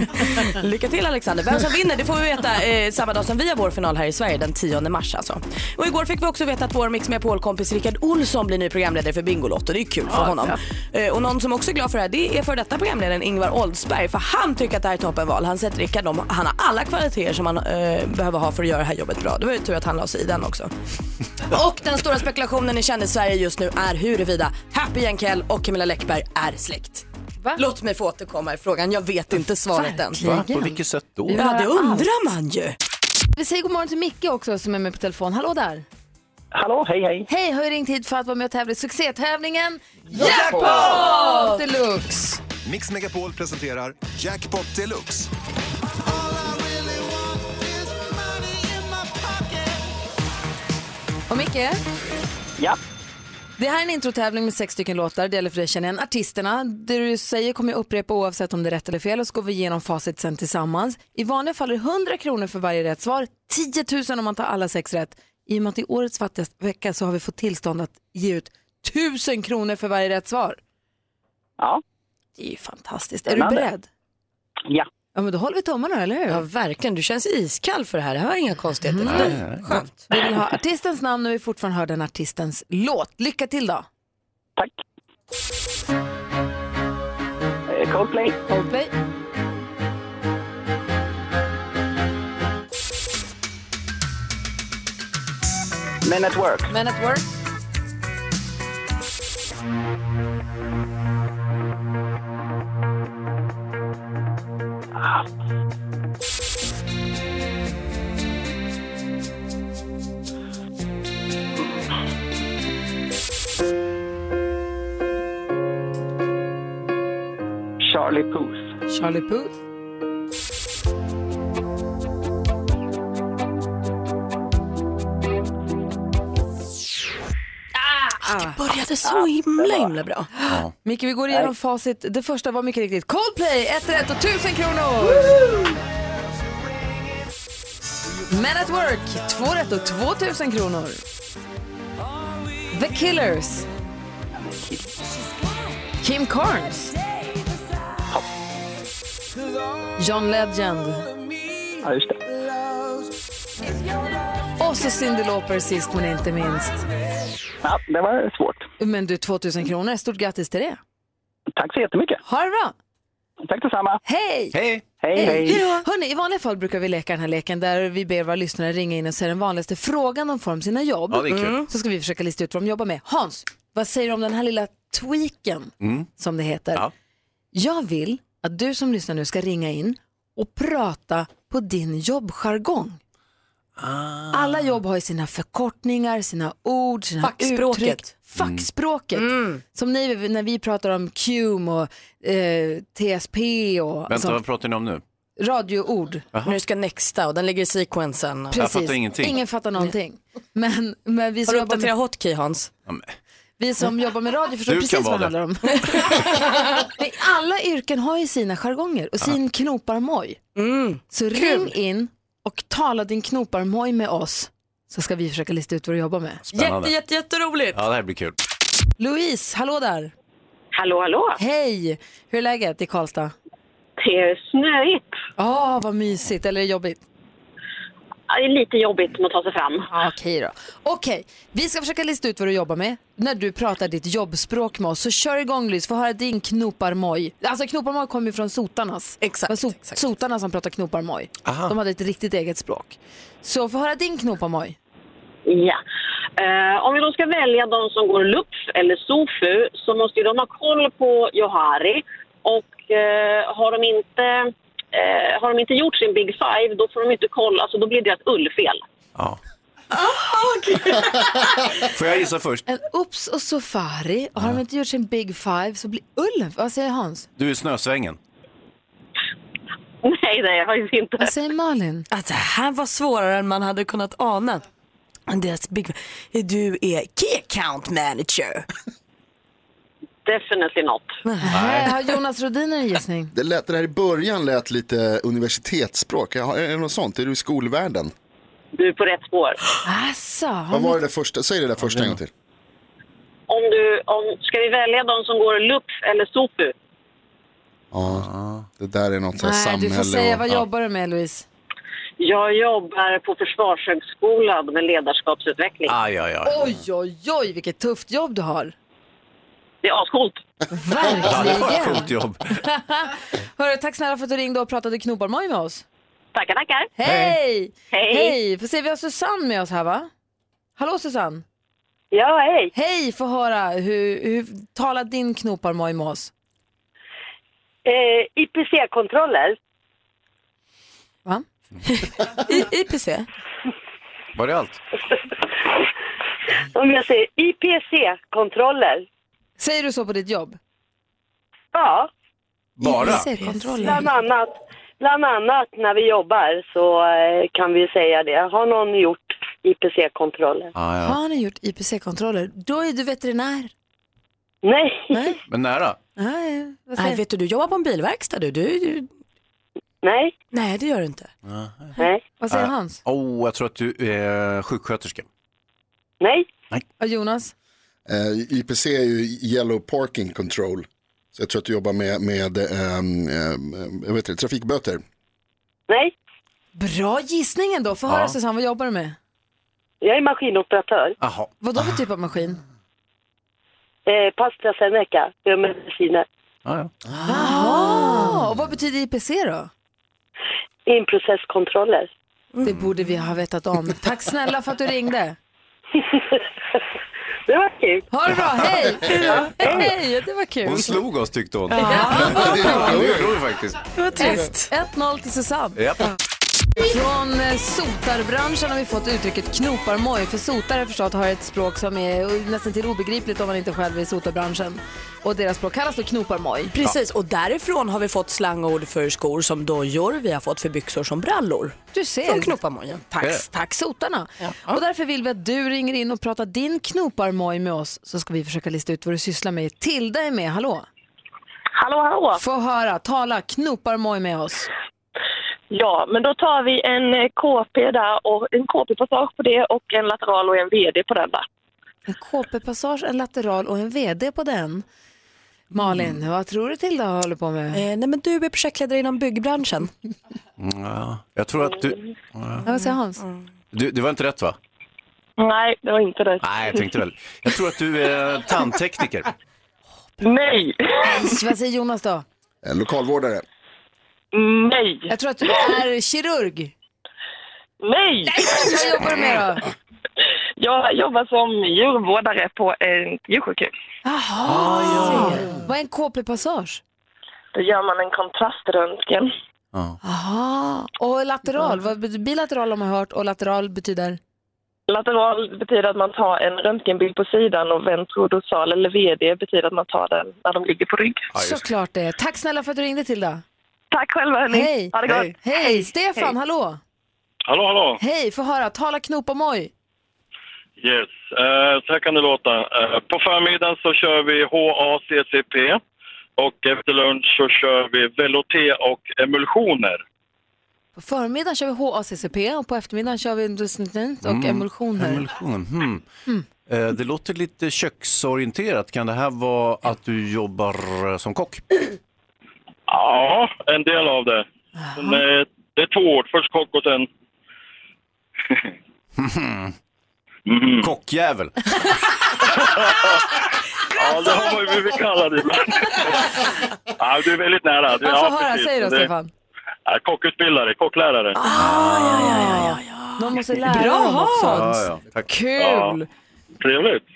Speaker 2: Lycka till Alexander. Vem som vinner det får vi veta eh, samma dag som vi har vår final här i Sverige, den 10 mars alltså. Och igår fick vi också veta att vår Mix Megapol-kompis Rickard Olsson blir ny programledare för Bingolotto. Det är kul för honom. Eh, och någon som också är glad för det här det är för detta programledaren Ingvar Oldsberg för han tycker att det här är toppenval. Han säger att Rickard de- han har alla kvaliteter som man eh, behöver ha för att göra det här jobbet bra. Det var ju tur att han la sig i den också. Och den stora spekulationen i kändis-Sverige just nu är huruvida Happy Jankell och Camilla Läckberg är släkt.
Speaker 1: Va?
Speaker 2: Låt mig få återkomma i frågan, jag vet inte svaret än.
Speaker 1: Verkligen.
Speaker 3: Va? På vilket sätt då?
Speaker 2: Ja, det
Speaker 1: Allt.
Speaker 2: undrar man ju.
Speaker 1: Vi säger god morgon till Micke också som är med på telefon. Hallå där!
Speaker 4: Hallå, hej hej.
Speaker 1: Hej, har ju ringt hit för att vara med och tävla i succétävlingen Jackpot Deluxe!
Speaker 8: Mix Megapol presenterar Jackpot Deluxe.
Speaker 1: Och Micke,
Speaker 4: Ja,
Speaker 1: det här är en introtävling med sex stycken låtar. Det gäller för dig att känna igen artisterna. Det du säger kommer jag upprepa oavsett om det är rätt eller fel och så går vi igenom facit sen tillsammans. I vanliga fall är det 100 kronor för varje rätt svar, 10 000 om man tar alla sex rätt. I och med att det är årets fattigaste vecka så har vi fått tillstånd att ge ut 1000 kronor för varje rätt svar.
Speaker 4: ja,
Speaker 1: Det är ju fantastiskt. Är du
Speaker 4: Spännande.
Speaker 1: beredd?
Speaker 4: ja.
Speaker 1: Ja, men då håller vi tummarna, eller hur?
Speaker 2: Ja, verkligen. Du känns iskall för det här. Det här var inga konstigheter för
Speaker 1: Mm.
Speaker 2: dig. Skönt.
Speaker 1: Vi vill ha artistens namn och vi fortfarande hör den artistens låt. Lycka till då!
Speaker 4: Tack. Eh, Coldplay.
Speaker 1: Coldplay.
Speaker 4: Men at work.
Speaker 1: Men at Work.
Speaker 4: Charlie Puth.
Speaker 1: Charlie Puth.
Speaker 2: Började så himla, himla bra.
Speaker 1: Micke, vi går igenom facit. Det första var mycket riktigt Coldplay, ett rätt och 1000 kronor! Men at Work, två rätt och 2000 kronor. The Killers. Kim Carnes. John Legend.
Speaker 4: Ja, just det.
Speaker 1: Och så Cyndi Lauper sist men inte minst.
Speaker 4: Ja, det var svårt.
Speaker 1: Men du, 2000 kronor, stort grattis till det.
Speaker 4: Tack så jättemycket.
Speaker 1: Ha det bra!
Speaker 4: Tack detsamma.
Speaker 1: Hej!
Speaker 3: Hej!
Speaker 4: Hej, hej.
Speaker 1: Hörrni, i vanliga fall brukar vi leka den här leken där vi ber våra lyssnare ringa in och säga den vanligaste frågan de får om sina jobb.
Speaker 3: Ja, det är kul.
Speaker 2: Mm.
Speaker 1: Så ska vi försöka lista ut vad de jobbar med. Hans, vad säger du om den här lilla tweaken som det heter?
Speaker 3: Ja.
Speaker 1: Jag vill att du som lyssnar nu ska ringa in och prata på din jobbjargong. Alla jobb har ju sina förkortningar, sina ord, sina
Speaker 2: Fackspråket.
Speaker 1: uttryck. Fackspråket. Mm. Som ni, när vi pratar om QM och eh, TSP och
Speaker 3: Vänta,
Speaker 1: sånt.
Speaker 3: vad pratar ni om nu?
Speaker 1: radioord.
Speaker 2: Nu ska nexta och den ligger i sequensen.
Speaker 1: Precis.
Speaker 3: fattar ingenting.
Speaker 1: Ingen fattar någonting. Men, men vi,
Speaker 2: Har
Speaker 1: som
Speaker 2: du
Speaker 1: jobbar med,
Speaker 2: uppdaterat hotkey Hans?
Speaker 3: Ja, men-
Speaker 1: vi som jobbar med radio förstår
Speaker 3: Du kan
Speaker 1: precis vad det handlar
Speaker 3: vara
Speaker 1: om. Nej, alla yrken har ju sina jargonger och sin knoparmoj. Så ring in och tala din knoparmoj med oss så ska vi försöka lista ut vad du jobbar med.
Speaker 2: Jätte,
Speaker 3: Spännande.
Speaker 2: jätte, jätteroligt.
Speaker 3: Ja, det här blir kul.
Speaker 1: Louise, hallå där!
Speaker 5: Hallå, hallå!
Speaker 1: Hej! Hur är läget i Karlstad? Ah,
Speaker 5: Det är snöigt.
Speaker 1: Åh, vad mysigt. Eller är det jobbigt?
Speaker 5: Ja, det är lite jobbigt att ta sig fram.
Speaker 1: Ja, okej då. Okej, vi ska försöka lista ut vad du jobbar med när du pratar ditt jobbspråk med oss. Så kör igång Lys, få höra din knoparmoj. Alltså knoparmoj kommer ju från sotarnas. Exakt. Det var so- sotarna som pratar knoparmoj.
Speaker 5: Aha.
Speaker 1: De hade ett riktigt eget språk. Så få höra din knoparmoj.
Speaker 5: Ja. Eh, om vi då ska välja de som går LUPF eller SOFU så måste ju de ha koll på Johari. Och eh, har, de inte, eh, har de inte gjort sin Big Five då får de inte kolla, alltså då blir det ett ullfel.
Speaker 3: Ja.
Speaker 2: Ah,
Speaker 3: Får jag gissa först?
Speaker 1: En Ups och Safari, har de inte gjort sin Big Five så blir ullen... Vad säger Hans?
Speaker 3: Du är snösvängen.
Speaker 5: Nej, nej, jag har ju inte.
Speaker 1: Vad säger Malin?
Speaker 2: Att det här var svårare än man hade kunnat ana. Deras big... Du är key account manager.
Speaker 5: Definitely not.
Speaker 1: Nej. Har Jonas Rhodiner en gissning?
Speaker 7: Det, lät, det där i början lät lite universitetsspråk. Ja, Är det något sånt? Är du i skolvärlden?
Speaker 5: Du är på rätt spår.
Speaker 1: Alltså,
Speaker 7: Vad var det där första? Säg det där första en gång till.
Speaker 5: Om du, om, ska vi välja de som går LUPF eller SOFU?
Speaker 7: Ja, det där är något så här
Speaker 1: Nej,
Speaker 7: samhälle.
Speaker 1: du får säga
Speaker 7: och-
Speaker 1: vad
Speaker 7: ja.
Speaker 1: jobbar du med Louise?
Speaker 5: Jag jobbar på Försvarshögskolan med ledarskapsutveckling.
Speaker 2: Eh.
Speaker 3: Aj, aj, aj.
Speaker 1: Oj, oj, oj, vilket tufft jobb du har.
Speaker 5: Det är ascoolt.
Speaker 3: Ja, det var ett
Speaker 1: Verkligen.
Speaker 3: coolt jobb.
Speaker 1: Hörru, tack snälla för att du ringde och pratade knoparmoj med oss.
Speaker 5: Tackar, tackar.
Speaker 1: Hej!
Speaker 5: Hej.
Speaker 1: Hej! Får se, vi har Susanne med oss här va? Hallå Susanne!
Speaker 5: Ja, hej!
Speaker 1: Hej, få höra. Hur, hur talar din knoparmoj med oss?
Speaker 5: Eh, IPC-kontroller.
Speaker 1: Va?
Speaker 2: IPC?
Speaker 3: Var det allt?
Speaker 5: Om jag säger IPC-kontroller.
Speaker 1: Säger du så på ditt jobb?
Speaker 5: Ja,
Speaker 3: Bara?
Speaker 5: bland annat, bland annat när vi jobbar så eh, kan vi säga det. Har någon gjort IPC-kontroller?
Speaker 3: Ja, Ah, ja.
Speaker 1: Har ni gjort IPC-kontroller? Då är du veterinär.
Speaker 5: Nej.
Speaker 1: Nej,
Speaker 3: Men nära.
Speaker 1: nej. Vad
Speaker 2: Nej,
Speaker 1: säger
Speaker 2: vet du, du jobbar på en bilverkstad du. du, du...
Speaker 5: Nej.
Speaker 2: Nej, det gör du inte.
Speaker 5: Nej.
Speaker 1: Vad säger
Speaker 3: Äh,
Speaker 1: Hans?
Speaker 3: Oh, jag tror att du är sjuksköterska.
Speaker 5: Nej.
Speaker 1: Och Jonas?
Speaker 7: Eh, IPC är ju Yellow Parking Control. Så jag tror att du jobbar med, med ehm, ehm, jag vet inte, trafikböter.
Speaker 5: Nej.
Speaker 1: Bra gissning ändå. Få höra
Speaker 7: Ja.
Speaker 1: Susanne, vad jobbar du med?
Speaker 5: Jag är maskinoperatör.
Speaker 3: Jaha.
Speaker 1: Vad då för typ av maskin?
Speaker 5: Eh, Pastra Seneca, jag med mediciner.
Speaker 3: Ah, ja.
Speaker 1: Jaha! Ah, Och vad betyder IPC då?
Speaker 5: Inprocesskontroller.
Speaker 1: Det
Speaker 3: Mm.
Speaker 1: borde vi ha vetat om. Tack snälla för att du ringde.
Speaker 5: Det var kul.
Speaker 1: Ha det bra, hej!
Speaker 3: Ja.
Speaker 1: Hej, det var
Speaker 3: Hon
Speaker 1: kul.
Speaker 3: slog oss tyckte hon.
Speaker 1: Ja.
Speaker 3: Ja, det gjorde hon faktiskt.
Speaker 1: Det var trist. 1-0 till Susanne.
Speaker 3: Japp.
Speaker 1: Från eh, sotarbranschen har vi fått uttrycket knoparmoj. För sotare förstås har ett språk som är nästan till obegripligt om man inte själv är i sotarbranschen. Och deras språk kallas för knoparmoj.
Speaker 2: Precis, och därifrån har vi fått slangord för skor som dojor, vi har fått för byxor som brallor.
Speaker 1: Du ser.
Speaker 2: Från knoparmojen. Tack.
Speaker 1: Tack, tack sotarna. Och därför vill vi att du ringer in och pratar din knoparmoj med oss så ska vi försöka lista ut vad du sysslar med. Tilda är med, hallå?
Speaker 5: Hallå, hallå.
Speaker 1: Få höra, tala knoparmoj med oss.
Speaker 5: Ja, men då tar vi en eh, KP där och en KP-passage på det och en lateral och en VD på den där.
Speaker 1: En KP-passage, en lateral och en VD på den. Malin, vad tror du Tilda håller på med?
Speaker 2: Eh, nej men du är projektledare inom byggbranschen.
Speaker 3: Ja. Jag tror att du... Ja.
Speaker 1: Ja, vad säger Hans?
Speaker 3: du... Det var inte rätt va?
Speaker 5: Nej, det var inte det.
Speaker 3: Nej, jag tänkte väl. Jag tror att du är tandtekniker.
Speaker 5: Nej.
Speaker 1: vad säger Jonas då?
Speaker 7: Eh, lokalvårdare.
Speaker 5: Nej.
Speaker 1: Jag tror att du är kirurg.
Speaker 5: Nej!
Speaker 1: Vad jobbar du med då?
Speaker 5: Jag jobbar som djurvårdare på en djursjukhus.
Speaker 1: Jaha, vad är en KP-passage?
Speaker 5: Då gör man en kontraströntgen.
Speaker 1: Aha. Och lateral, vad betyder- bilateral har man hört och lateral betyder?
Speaker 5: Lateral betyder att man tar en röntgenbild på sidan och ventrodosal eller VD betyder att man tar den när de ligger på rygg.
Speaker 1: Såklart det. Tack snälla för att du ringde Tilda.
Speaker 5: Tack själva hörni.
Speaker 1: Hej.
Speaker 5: Ha det gott.
Speaker 1: Hej, Stefan,
Speaker 5: Hej.
Speaker 1: hallå.
Speaker 9: Hallå, hallå.
Speaker 1: Hej, få höra, tala knopamoj.
Speaker 9: Yes. Eh, så här kan det låta. Eh, på förmiddagen så kör vi HACCP och efter lunch så kör vi Veloté och emulsioner.
Speaker 1: På förmiddagen kör vi HACCP och på eftermiddagen kör vi industrinet och
Speaker 3: Mm,
Speaker 1: emulsioner.
Speaker 3: Emulsioner. Hmm.
Speaker 1: Mm.
Speaker 3: Eh, Det låter lite köksorienterat. Kan det här vara att du jobbar eh, som kock?
Speaker 9: Ja, en del av det. Men, eh, det är två ord. Först kock och sen
Speaker 3: Mm. Kockjävel.
Speaker 9: Ja, det har man ju blivit kallad ibland. Ja, du är väldigt nära. Du,
Speaker 1: Man
Speaker 9: ja,
Speaker 1: får höra,
Speaker 9: precis.
Speaker 1: säg då
Speaker 9: Det-
Speaker 1: Stefan. Ah,
Speaker 9: Ja, kockutbildare, kocklärare.
Speaker 1: De måste lära
Speaker 9: Bra,
Speaker 1: dem också.
Speaker 9: Hans. Ja, ja, tack.
Speaker 1: Kul!
Speaker 9: Trevligt.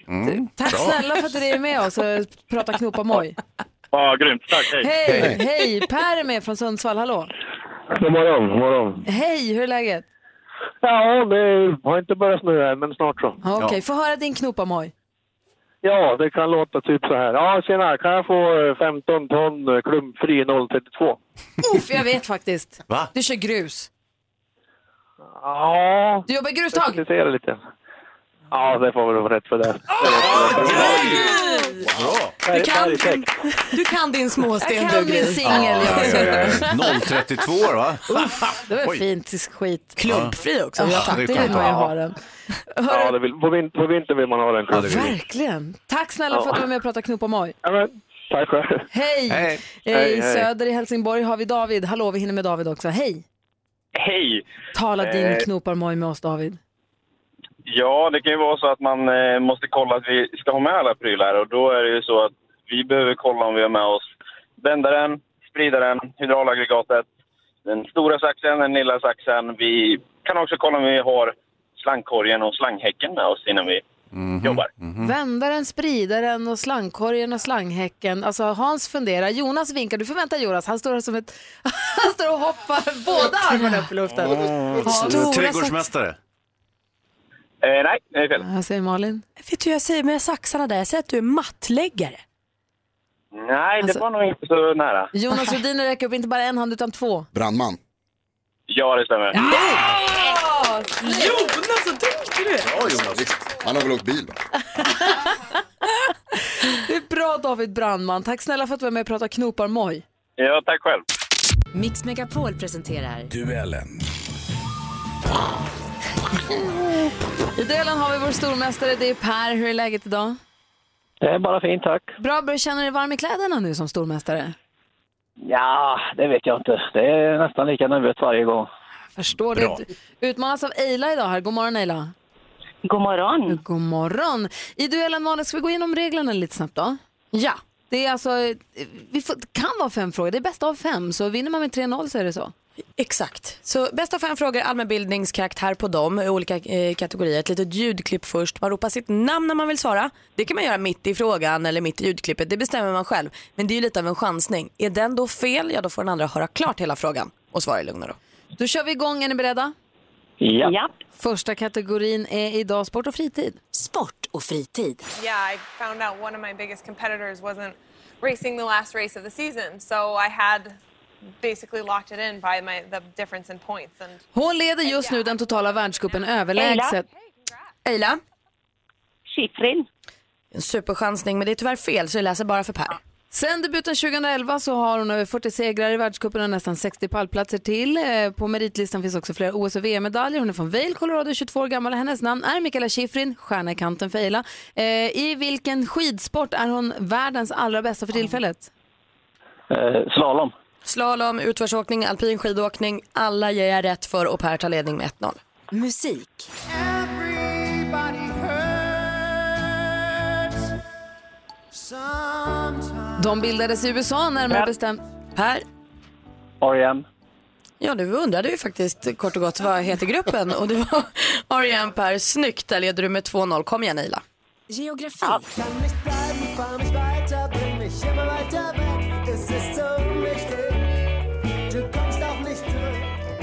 Speaker 1: Tack snälla för att du är med oss och pratar knopamoj.
Speaker 9: Ja, grymt. Tack, hej.
Speaker 1: Hej, hej! Per är med från Sundsvall, hallå.
Speaker 10: God morgon, god morgon.
Speaker 1: Hej, hur är läget?
Speaker 10: Ja, det har inte börjat snöa än, men snart så.
Speaker 1: Okej, få höra din knopamoj.
Speaker 10: Ja, det kan låta typ så här. Ja, tjena, kan jag få eh, 15 ton eh, klumpfri 032?
Speaker 1: Uff, jag vet faktiskt.
Speaker 10: Va?
Speaker 1: Du kör grus.
Speaker 10: Ja.
Speaker 1: Du jobbar i grustag?
Speaker 10: Jag ska lite. Ja, det får väl vara rätt för det.
Speaker 2: Du kan,
Speaker 10: Bergtäck.
Speaker 2: du kan din småsten
Speaker 1: Jag kan
Speaker 2: du,
Speaker 1: min
Speaker 2: Gry.
Speaker 1: singel,
Speaker 3: Ja, ja, ja. 032 Eh, år, va?
Speaker 1: Uff, det var
Speaker 3: Oj.
Speaker 1: fint skit.
Speaker 10: Klumpfri
Speaker 3: också.
Speaker 1: Ja,
Speaker 3: Ja,
Speaker 1: tack.
Speaker 3: det
Speaker 1: Det
Speaker 3: är
Speaker 1: vill
Speaker 3: klart.
Speaker 1: man ju ha den.
Speaker 10: Ja, det vill, på, vin, på vintern vill man ha den. Ja,
Speaker 1: Verkligen. Tack snälla
Speaker 10: Ja.
Speaker 1: för att du var med och pratade knopamoj.
Speaker 10: Tack själv.
Speaker 1: Hej!
Speaker 10: Hej.
Speaker 1: Eh,
Speaker 10: Hej,
Speaker 1: I
Speaker 10: hej.
Speaker 1: söder i Helsingborg har vi David. Hallå, vi hinner med David också. Hej!
Speaker 11: Hej!
Speaker 1: Tala din
Speaker 11: Eh,
Speaker 1: knopamoj med oss David.
Speaker 11: Ja, det kan ju vara så att man eh, måste kolla att vi ska ha med alla prylar och då är det ju så att vi behöver kolla om vi har med oss vändaren, spridaren, hydraulaggregatet, den stora saxen, den lilla saxen. Vi kan också kolla om vi har slangkorgen och slanghäcken med oss innan vi jobbar.
Speaker 1: Vändaren, spridaren och slangkorgen och slanghäcken. Alltså Hans funderar, Jonas vinkar. Du får vänta Jonas, han står som ett... Han står och hoppar båda armarna upp i luften. Hans-
Speaker 3: Stora Trädgårdsmästare.
Speaker 11: Eh, nej, det är fel.
Speaker 1: Vad säger Malin?
Speaker 2: Vet du jag säger med saxarna där? Jag säger att du är mattläggare.
Speaker 11: Nej,
Speaker 10: Alltså-
Speaker 11: det var nog inte så nära.
Speaker 1: Jonas Rhodiner räcker upp inte bara en hand utan två.
Speaker 7: Brandman.
Speaker 11: Ja, det stämmer.
Speaker 1: Jonas, så duktig du är!
Speaker 7: Han har väl åkt bil?
Speaker 1: Det är bra David Brandman. Tack snälla för att du var med och pratade knoparmoj.
Speaker 11: Ja, tack själv.
Speaker 12: Mix Megapol presenterar...
Speaker 8: Duellen.
Speaker 1: I duellen har vi vår stormästare, det är Per. Hur är läget idag?
Speaker 10: Det är bara fint, tack.
Speaker 1: Bra, börjar känna dig varm i kläderna nu som stormästare?
Speaker 10: Ja, det vet jag inte. Det är nästan lika nervöst varje gång.
Speaker 1: Förstår
Speaker 10: Bra.
Speaker 1: det. Utmanas av Eila idag här. God morgon Eila. God morgon. God morgon. I duellen Malin, ska vi gå igenom reglerna lite snabbt då? Ja. Det är alltså, eh, vi får, det kan vara fem frågor, det är bäst av fem, så vinner man med 3-0 så är det så.
Speaker 2: Exakt. Så bästa fem frågor, allmänbildningskaraktär på dem i olika eh, kategorier. Ett litet ljudklipp först. Man ropar sitt namn när man vill svara. Det kan man göra mitt i frågan eller mitt i ljudklippet. Det bestämmer man själv. Men det är ju lite av en chansning. Är den då fel, ja då får den andra höra klart hela frågan och svara i lugn och ro.
Speaker 1: Då kör vi igång, är ni beredda?
Speaker 2: Ja.
Speaker 1: Första kategorin är idag sport och fritid. Sport och fritid.
Speaker 13: Yeah, I found out one of my biggest competitors wasn't racing the last race of the season, so I had basically locked it in by my the difference in points and
Speaker 1: Hon leder just nu den totala världscupen
Speaker 2: Eila.
Speaker 1: överlägset.
Speaker 2: Eila? Schifrin. En superchansning men det är tyvärr fel så jag läser bara för Per.
Speaker 1: Sen debuten 2011 så har hon över 40 segrar i världscupen och nästan 60 pallplatser till. Eh, På meritlistan finns också flera OS och VM-medaljer. Hon är från Vail, Colorado, 22 år gammal. Hennes namn är Mikaela Shiffrin, stjärna i kanten för Eila. Eh, I vilken skidsport är hon världens allra bästa för tillfället?
Speaker 10: Eh, slalom.
Speaker 2: Slalom, utförsåkning, alpin skidåkning. Alla ger jag rätt för och Per tar ledning med 1-0. Musik.
Speaker 1: De bildades i USA närmare
Speaker 2: Per.
Speaker 1: bestämt.
Speaker 2: Per?
Speaker 10: R.E.M.
Speaker 2: Ja, du undrade ju faktiskt kort och gott vad heter gruppen och det var R.E.M. Per. Snyggt, där leder du med 2-0. Kom igen Ila.
Speaker 12: Geografi.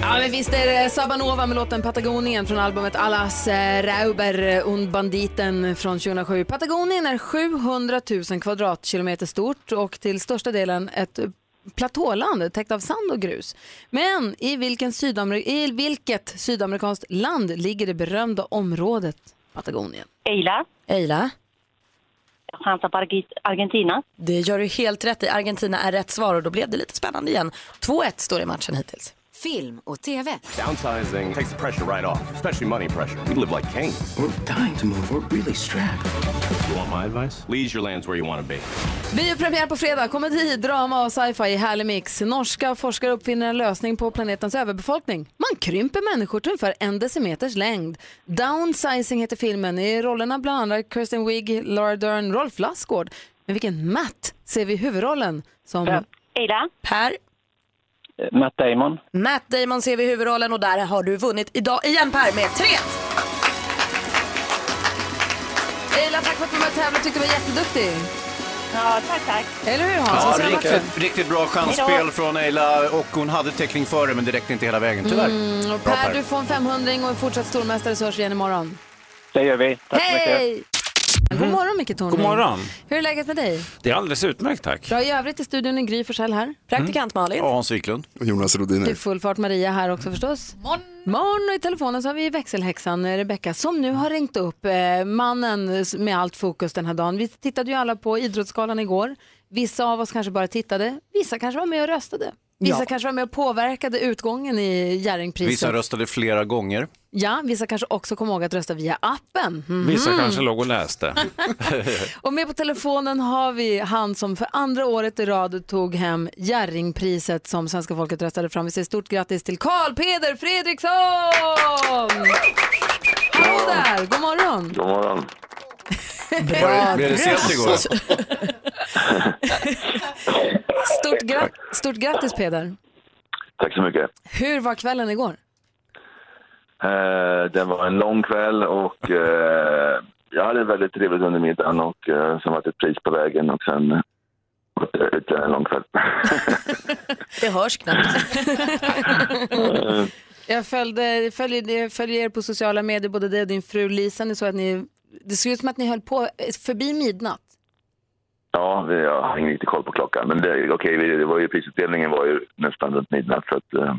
Speaker 1: Ja, men visst är det Sabanova med låten Patagonien från albumet Alas eh, Rauber und Banditen från 2007. Patagonien är 700 000 kvadratkilometer stort och till största delen ett eh, platåland täckt av sand och grus. Men i, vilken Sydamer- i vilket sydamerikanskt land ligger det berömda området Patagonien?
Speaker 14: Eila,
Speaker 2: Ila?
Speaker 14: jag chansar på Argi- Argentina.
Speaker 2: Det gör du helt rätt i. Argentina är rätt svar och då blev det lite spännande igen. 2-1 står det i matchen hittills.
Speaker 12: Film och TV.
Speaker 15: Downsizing takes the pressure right off, especially money pressure. We live like kings. We're dying to move. We're really strapped. You want my advice? Leave your lands where you want to be.
Speaker 1: Biopremiär på fredag, komedi, drama och sci-fi i härlig mix. Norska forskare uppfinner en lösning på planetens överbefolkning. Man krymper människor till ungefär en decimeters längd. Downsizing heter filmen. I rollerna bland andra Kirsten Wigg, Laura Dern, Rolf Lassgård. Men vilken Matt ser vi i huvudrollen som...
Speaker 2: Ida. Per.
Speaker 16: Matt Damon.
Speaker 2: Matt Damon ser vi i huvudrollen och där har du vunnit idag igen Per med 3
Speaker 1: Eila, tack för att du var med och tävlade. tyckte du var jätteduktig.
Speaker 14: Ja, tack, tack.
Speaker 1: Eller hur Hans? Vad
Speaker 3: Ja,
Speaker 1: säger Martin?
Speaker 3: riktigt, riktigt bra chansspel
Speaker 1: Hejdå.
Speaker 3: från Eila och hon hade täckning före men det räckte inte hela vägen tyvärr.
Speaker 1: Mm, och
Speaker 3: Bra,
Speaker 1: per, du får en 500 och en fortsatt stormästare så hörs vi igen imorgon.
Speaker 17: Det gör vi. Tack så mycket.
Speaker 1: Hej! God morgon Micke Tornving.
Speaker 17: God morgon.
Speaker 1: Hur är läget med dig?
Speaker 17: Det är alldeles utmärkt tack.
Speaker 1: Bra i övrigt i studion är Gry Forssell här. Praktikant Malin.
Speaker 3: Hans Wiklund.
Speaker 7: Jonas Rodin.
Speaker 1: Det är full fart Maria här också förstås. Morgon. Morgon och i telefonen så har vi växelhäxan eh, Rebecka som nu har ringt upp eh, mannen s- med allt fokus den här dagen. Vi tittade ju alla på Idrottsgalan igår. Vissa av oss kanske bara tittade, vissa kanske var med och röstade. Vissa
Speaker 3: Ja.
Speaker 1: kanske var med och påverkade utgången i Jerringpriset.
Speaker 3: Vissa röstade flera gånger.
Speaker 1: Ja, vissa kanske också kom ihåg att rösta via appen. Mhm.
Speaker 17: Vissa Mm. kanske låg och läste.
Speaker 1: Och med på telefonen har vi han som för andra året i rad tog hem Jerringpriset som svenska folket röstade fram. Vi säger stort grattis till Karl Peder Fredriksson! Hallå där, god morgon!
Speaker 18: God morgon.
Speaker 1: Bra
Speaker 18: Blev det sent igår?
Speaker 1: röst. Stort, gra- stort grattis Peder!
Speaker 18: Tack så mycket.
Speaker 1: Hur var kvällen igår?
Speaker 18: Eh, det var en lång kväll och eh, jag hade väldigt trevligt under middagen och eh, sen var det ett pris på vägen och sen var det ytterligare en lång kväll.
Speaker 2: Det hörs knappt.
Speaker 18: Eh,
Speaker 1: Jag följde, följer, jag följer er på sociala medier, både dig och din fru Lisa. Ni såg att ni, det såg ut som att ni höll på eh, förbi midnatt.
Speaker 18: ja, vi- jag har ingen riktig koll på klockan men det, okej, vi- det var ju, prisutdelningen var ju nästan runt midnatt så att, eh,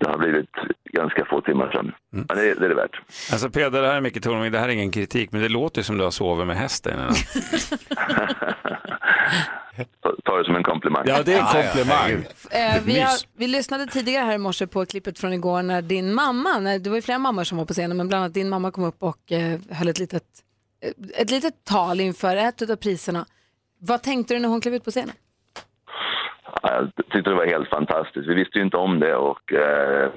Speaker 18: det har blivit ganska få timmar sedan. Men det, det är det värt.
Speaker 17: Mm. Alltså Peder, det här är mycket Tornving, det här är ingen kritik, men det låter ju som du har sovit med hästen. innan.
Speaker 18: Ta det som en komplimang.
Speaker 17: Ja, det är en Ja, ja, komplimang. herregud.
Speaker 1: Eh, vi, har,
Speaker 18: Mys.
Speaker 1: vi lyssnade tidigare här i morse på klippet från igår när din mamma, när, det var ju flera mammor som var på scenen, men bland annat din mamma kom upp och eh, höll ett litet, eh, ett litet tal inför ett av priserna. Vad tänkte du när hon klev ut på scenen?
Speaker 18: Jag tyckte det var helt fantastiskt. Vi visste ju inte om det och eh,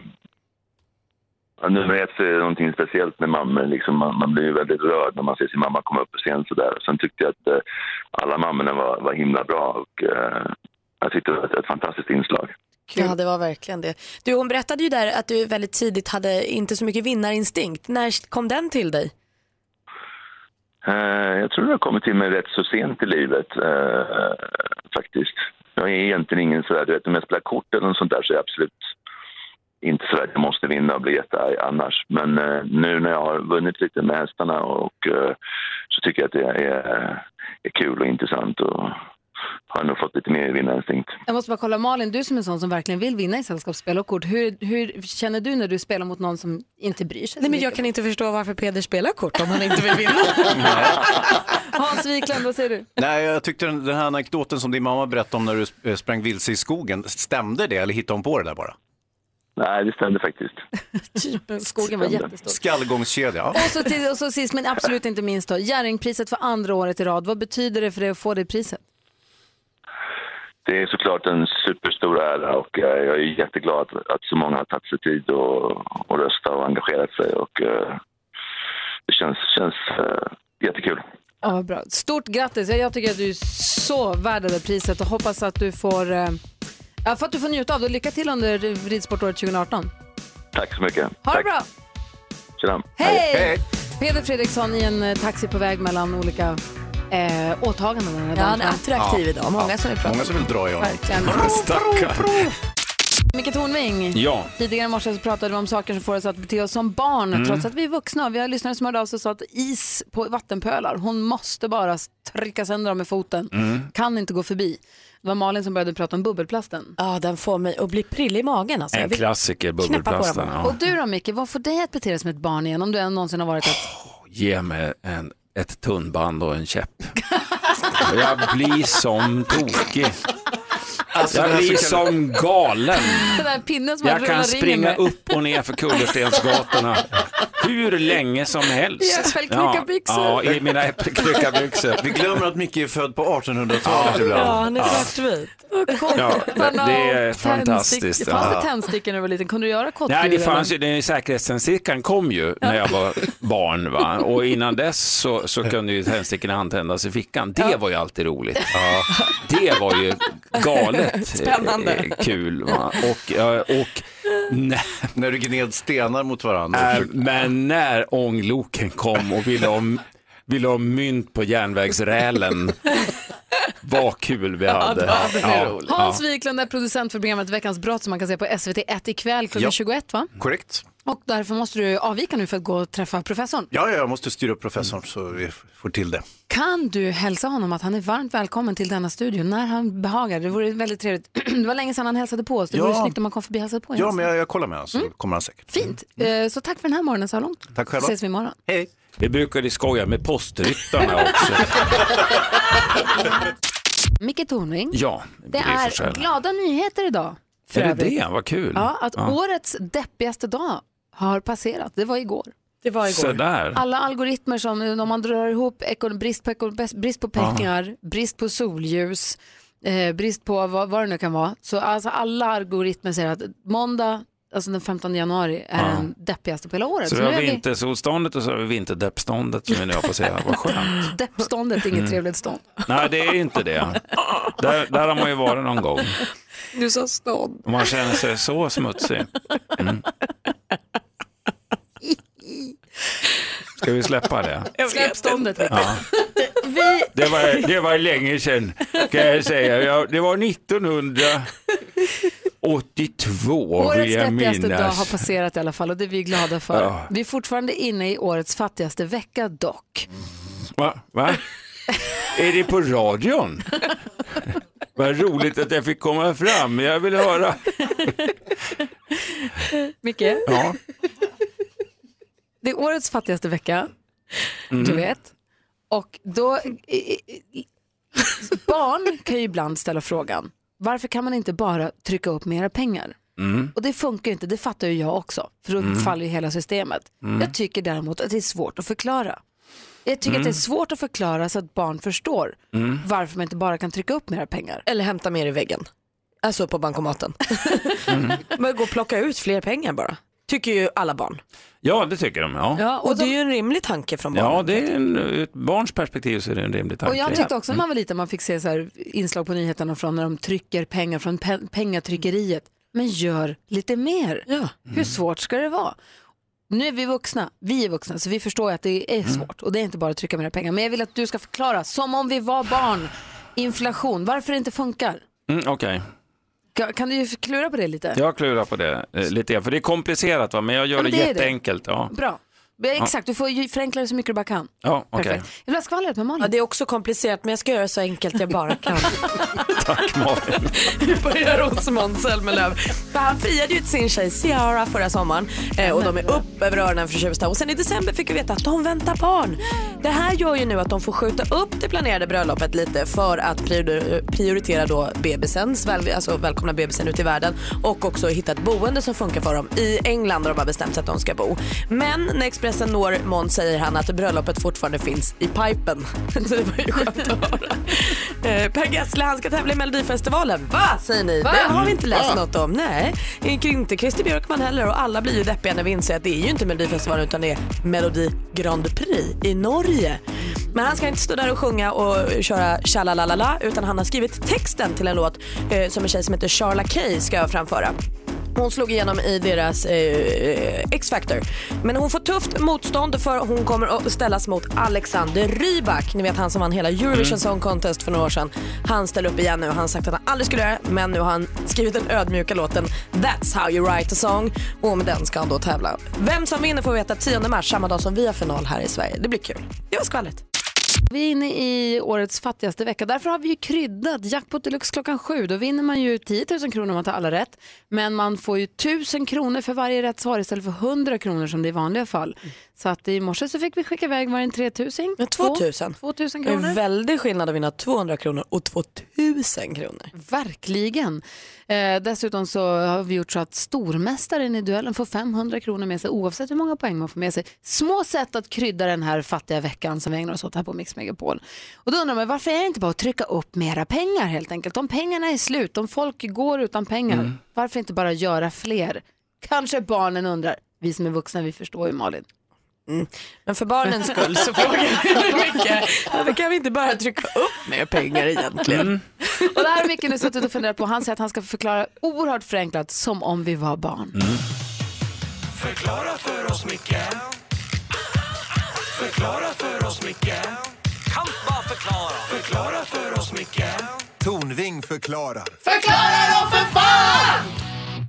Speaker 18: ja, nummer ett så är det någonting speciellt med mammor. Liksom man, man blir ju väldigt rörd när man ser sin mamma komma upp på scen sådär. Sen tyckte jag att eh, alla mammorna var, var himla bra och eh, jag tyckte det var ett, ett fantastiskt inslag.
Speaker 2: Ja, det var verkligen det. Du, hon berättade ju där att du väldigt tidigt hade inte så mycket vinnarinstinkt. När kom den till dig?
Speaker 18: Eh, jag tror det har kommit till mig rätt så sent i livet eh, faktiskt. Jag är egentligen ingen sådär, du vet om jag spelar kort eller något sånt där så är jag absolut inte sådär att jag måste vinna och bli jättearg annars. Men eh, nu när jag har vunnit lite med hästarna och eh, så tycker jag att det är, är kul och intressant och har nog fått lite mer vinnarinstinkt.
Speaker 1: Jag måste bara kolla, Malin, du som är en sån som verkligen vill vinna i sällskapsspel och kort, hur, hur känner du när du spelar mot någon som inte bryr sig?
Speaker 2: Nej, men jag kan inte förstå varför Peder spelar kort om han inte vill vinna.
Speaker 1: Hans Wiklund, vad säger du?
Speaker 3: Nej, jag tyckte den, den här anekdoten som din mamma berättade om när du sp- eh, sprang vilse i skogen, stämde det eller hittade hon på det där bara?
Speaker 18: Nej, det stämde faktiskt.
Speaker 2: Typ
Speaker 1: Skogen var jättestor.
Speaker 3: Skallgångskedja, ja.
Speaker 1: Och så, till, och så sist men absolut inte minst då, Jerringpriset för andra året i rad. Vad betyder det för dig att få det priset?
Speaker 18: Det är såklart en superstor ära och eh, jag är jätteglad att, att så många har tagit sig tid och, och rösta och engagerat sig och eh, det känns, känns eh, jättekul.
Speaker 1: Ja, vad bra. Stort grattis. Jag tycker att du är så värd det där priset och hoppas att du får, eh, ja, för att du får njuta av det. Lycka till under ridsportåret 2018.
Speaker 18: Tack så mycket.
Speaker 1: Ha det
Speaker 18: Tack.
Speaker 1: bra.
Speaker 18: Tjena.
Speaker 1: Hej! Peder Fredriksson i en eh, taxi på väg mellan olika eh, åtaganden. den här
Speaker 2: Ja, han
Speaker 1: dagen.
Speaker 2: är attraktiv
Speaker 3: Ja.
Speaker 2: idag. Många som vill prata.
Speaker 3: Många som vill dra i honom.
Speaker 1: Verkligen. Micke Tornving.
Speaker 3: Ja.
Speaker 1: Tidigare i morse så pratade vi om saker som får oss att bete oss som barn
Speaker 19: Mm.
Speaker 1: trots att vi är vuxna. Vi har lyssnare som hörde av sig och sa att is på vattenpölar, hon måste bara trycka sönder dem med foten.
Speaker 19: Mm.
Speaker 1: Kan inte gå förbi. Det var Malin som började prata om bubbelplasten.
Speaker 2: Ja, den får mig att bli prillig i magen. Alltså.
Speaker 17: En klassiker, bubbelplasten. Ja.
Speaker 1: Och du då Micke, vad får dig att bete dig som ett barn igen om du än någonsin har varit ett?
Speaker 17: Ge mig en, ett tunnband och en käpp. Jag blir som tokig.
Speaker 3: Alltså,
Speaker 17: jag
Speaker 3: den här
Speaker 17: blir
Speaker 3: så kallade-
Speaker 17: som galen.
Speaker 1: Den där pinnen som man
Speaker 17: Jag
Speaker 1: rullar
Speaker 17: kan
Speaker 1: ringen
Speaker 17: springa
Speaker 1: med.
Speaker 17: upp och ner för kullerstensgatorna hur länge som helst.
Speaker 1: I äppelklyckabyxor.
Speaker 17: Ja, ja, i mina äppelklyckabyxor.
Speaker 3: Vi glömmer att Micke är född på 1800-talet ibland.
Speaker 1: svartvit.
Speaker 17: Ja, det- det är fantastiskt,
Speaker 1: Det fanns
Speaker 17: ja.
Speaker 1: det tändstickor när du var liten? Kunde du göra kottlur?
Speaker 17: Nej, det
Speaker 1: eller?
Speaker 17: fanns ju, den säkerhetständstickan kom ju när jag var barn. Va? Och innan dess så, så kunde ju tändstickorna antändas i fickan. Det var ju alltid roligt. Det var ju galet
Speaker 2: Spännande.
Speaker 17: eh, kul. Va? Och, eh, och
Speaker 3: När du gned stenar mot varandra.
Speaker 17: Äh, men när ångloken kom och ville ha, ville ha mynt på järnvägsrälen, vad kul vi hade.
Speaker 1: Hans Wiklund är producent för programmet Veckans brott som man kan se på SVT1 ikväll klockan
Speaker 3: Ja.
Speaker 1: 21 va?
Speaker 3: Korrekt.
Speaker 1: Och därför måste du avvika nu för att gå och träffa professorn.
Speaker 3: Ja, ja, jag måste styra upp professorn så vi får till det.
Speaker 1: Kan du hälsa honom att han är varmt välkommen till denna studio när han behagar? Det vore väldigt trevligt. det var länge sedan han hälsade på oss. Det vore
Speaker 3: Ja.
Speaker 1: snyggt om han kom förbi och hälsade på och
Speaker 3: Ja,
Speaker 1: hälsade.
Speaker 3: men jag, jag kollar med honom
Speaker 1: Mm.
Speaker 3: så kommer han säkert.
Speaker 1: Fint. Eh, Så tack för den här morgonen så här långt.
Speaker 17: Tack själva.
Speaker 1: Ses vi imorgon.
Speaker 3: Hej.
Speaker 17: Vi brukade skoja med postryttarna också.
Speaker 1: Micke Tornving.
Speaker 17: Ja,
Speaker 1: Det är glada nyheter idag. för
Speaker 17: Är det
Speaker 1: övrigt.
Speaker 17: det? Vad kul.
Speaker 1: Ja, att årets deppigaste dag har passerat. Det var igår. Det var
Speaker 17: igår. Sådär.
Speaker 1: Alla algoritmer som, om man drar ihop ekon, brist, på ekon, bäst- brist på pengar, brist på solljus, eh, brist på vad, vad det nu kan vara. Så alltså alla algoritmer säger att måndag, alltså den 15 januari, är
Speaker 17: Ja.
Speaker 1: den deppigaste på hela året.
Speaker 17: Så
Speaker 1: Så,
Speaker 17: vi
Speaker 1: nu
Speaker 17: har
Speaker 1: är vi
Speaker 17: vintersolståndet och så har vi vinterdeppståndet som vi nu har på att säga. Vad skönt.
Speaker 1: deppståndet, inget
Speaker 17: Mm.
Speaker 1: trevligt stånd.
Speaker 17: Nej, det är inte det. Där, där har man ju varit någon gång.
Speaker 1: Du sa stånd.
Speaker 17: Och man känner sig så smutsig. Mm. Ska vi släppa det?
Speaker 1: Släpp ståndet.
Speaker 17: Ja.
Speaker 1: Vi...
Speaker 17: Det var, det var länge sedan, kan jag säga. Jag, det var 1982, vill
Speaker 1: Årets
Speaker 17: jag
Speaker 1: deppigaste dag har
Speaker 17: minnas.
Speaker 1: passerat i alla fall och det är vi glada för.
Speaker 17: Ja.
Speaker 1: Vi är fortfarande inne i årets fattigaste vecka dock.
Speaker 17: Va? Va? Är det på radion? Vad roligt att jag fick komma fram. Jag vill höra.
Speaker 1: Micke,
Speaker 17: Ja.
Speaker 1: det är årets fattigaste vecka,
Speaker 17: Mm.
Speaker 1: du vet. Och då... i- i- i- Barn kan ju ibland ställa frågan, varför kan man inte bara trycka upp mera pengar?
Speaker 17: Mm.
Speaker 1: Och det funkar ju inte, det fattar ju jag också, för då
Speaker 17: Mm.
Speaker 1: faller ju hela systemet.
Speaker 17: Mm.
Speaker 1: Jag tycker däremot att det är svårt att förklara. Jag tycker
Speaker 2: Mm.
Speaker 1: att det är svårt att förklara så att barn förstår
Speaker 2: Mm.
Speaker 1: varför man inte bara kan trycka upp mera pengar.
Speaker 2: Eller hämta mer i väggen. Alltså på bankomaten.
Speaker 17: Mm.
Speaker 2: Men gå och plocka ut fler pengar bara. Tycker ju alla barn.
Speaker 17: ja, det tycker de. Ja.
Speaker 2: och, det är ju en rimlig tanke från barnen.
Speaker 17: Ja, det är en, ur ett barns perspektiv så är det en rimlig tanke.
Speaker 1: Och jag tyckte också när man var liten, man fick se så här inslag på nyheterna från när de trycker pengar från pe pengatryckeriet. Men gör lite mer. Hur svårt ska det vara? Nu är vi vuxna, vi är vuxna, så vi förstår ju att det är
Speaker 17: Mm.
Speaker 1: svårt. Och det är inte bara att trycka mer pengar. Men jag vill att du ska förklara, som om vi var barn, inflation, varför det inte funkar.
Speaker 17: Mm, Okej,
Speaker 1: Ka- Kan du ju klura på det lite?
Speaker 17: jag klurar på det eh, lite grann, för det är komplicerat va? men jag gör
Speaker 1: Ja, men
Speaker 17: det
Speaker 1: det är det.
Speaker 17: jätteenkelt. Ja.
Speaker 1: Bra.
Speaker 17: Ja.
Speaker 1: Exakt, du får ju förenkla det så mycket du bara kan.
Speaker 17: Ja, okej.
Speaker 1: Perfekt. Jag vill ha skvallret med Malin. Ja,
Speaker 2: det är också komplicerat men jag ska göra det så enkelt jag bara kan.
Speaker 17: Tack Malin.
Speaker 2: Nu börjar hos Måns Zelmerlöw. För Han friade ju till sin tjej Ciara förra sommaren eh, och de är upp över öronen förtjusta. Och sen i december fick vi veta att de väntar barn. Det här gör ju nu att de får skjuta upp det planerade bröllopet lite för att prior- prioritera då bebisen, väl, alltså välkomna bebisen ut i världen och också hitta ett boende som funkar för dem i England där de har bestämt sig att de ska bo. Men när Expressen når Måns säger han att bröllopet fortfarande finns i pipen. Så det var ju skönt att höra. Eh, Per Gessle han ska tävla i Melodifestivalen. Va säger ni?
Speaker 1: Va?
Speaker 2: Det har vi inte
Speaker 7: Ah.
Speaker 2: läst
Speaker 1: Va?
Speaker 2: något om. Nej, inte Christer Björkman heller och alla blir ju deppiga när vi inser att det är ju inte Melodifestivalen utan det är Melodi Grand Prix i Norge. Men han ska inte stå där och sjunga och köra tjalalalala utan han har skrivit texten till en låt eh, som en tjej som heter Charla Kay ska framföra. Hon slog igenom i deras eh, X-Factor. Men hon får tufft motstånd för hon kommer att ställas mot Alexander Rybak. Ni vet han som vann hela Eurovision
Speaker 1: Mm.
Speaker 2: Song Contest för några år sedan. Han ställer upp igen nu. Han har sagt att han aldrig skulle göra det, men nu har han skrivit den ödmjuka låten That's how you write a song. Och med den ska han då tävla. Vem som vinner får vi veta 10 mars, samma dag som vi har final här i Sverige. Det blir kul. Det var skvallret.
Speaker 1: Mm. Vi är inne i årets fattigaste vecka. Därför har vi ju kryddat Jackpot Deluxe klockan sju. Då vinner man ju 10 000 kronor om man tar alla rätt. Men man får ju 1000 kronor för varje rätt svar istället för 100 kronor som det är i vanliga fall. Så att i morse så fick vi skicka iväg var en 3000.
Speaker 2: 2000.
Speaker 1: 2000
Speaker 2: Det är
Speaker 1: kronor.
Speaker 2: en väldig skillnad att vinna 200 kronor och 2000 kronor.
Speaker 1: Verkligen. Eh, dessutom så har vi gjort så att stormästaren i duellen får 500 kronor med sig oavsett hur många poäng man får med sig. Små sätt att krydda den här fattiga veckan som vi ägnar oss åt här på Mix Megapol. Och då undrar man varför är det inte bara att trycka upp mera pengar helt enkelt? Om pengarna är slut, om folk går utan pengar,
Speaker 20: Mm.
Speaker 1: varför inte bara göra fler? Kanske barnen undrar. Vi som är vuxna, vi förstår ju Malin.
Speaker 2: Men för barnens skull så frågar vi mycket. Varför kan vi inte bara trycka upp mer pengar egentligen?
Speaker 17: Mm.
Speaker 1: Och det här har Micke nu suttit och funderat på. Han säger att han ska förklara oerhört förenklat, som om vi var barn.
Speaker 17: Mm.
Speaker 8: Förklara för oss, Micke. Förklara för oss, Micke. Kan bara förklara. Förklara för oss, Micke. Tornving förklarar.
Speaker 20: Förklara dem för fan!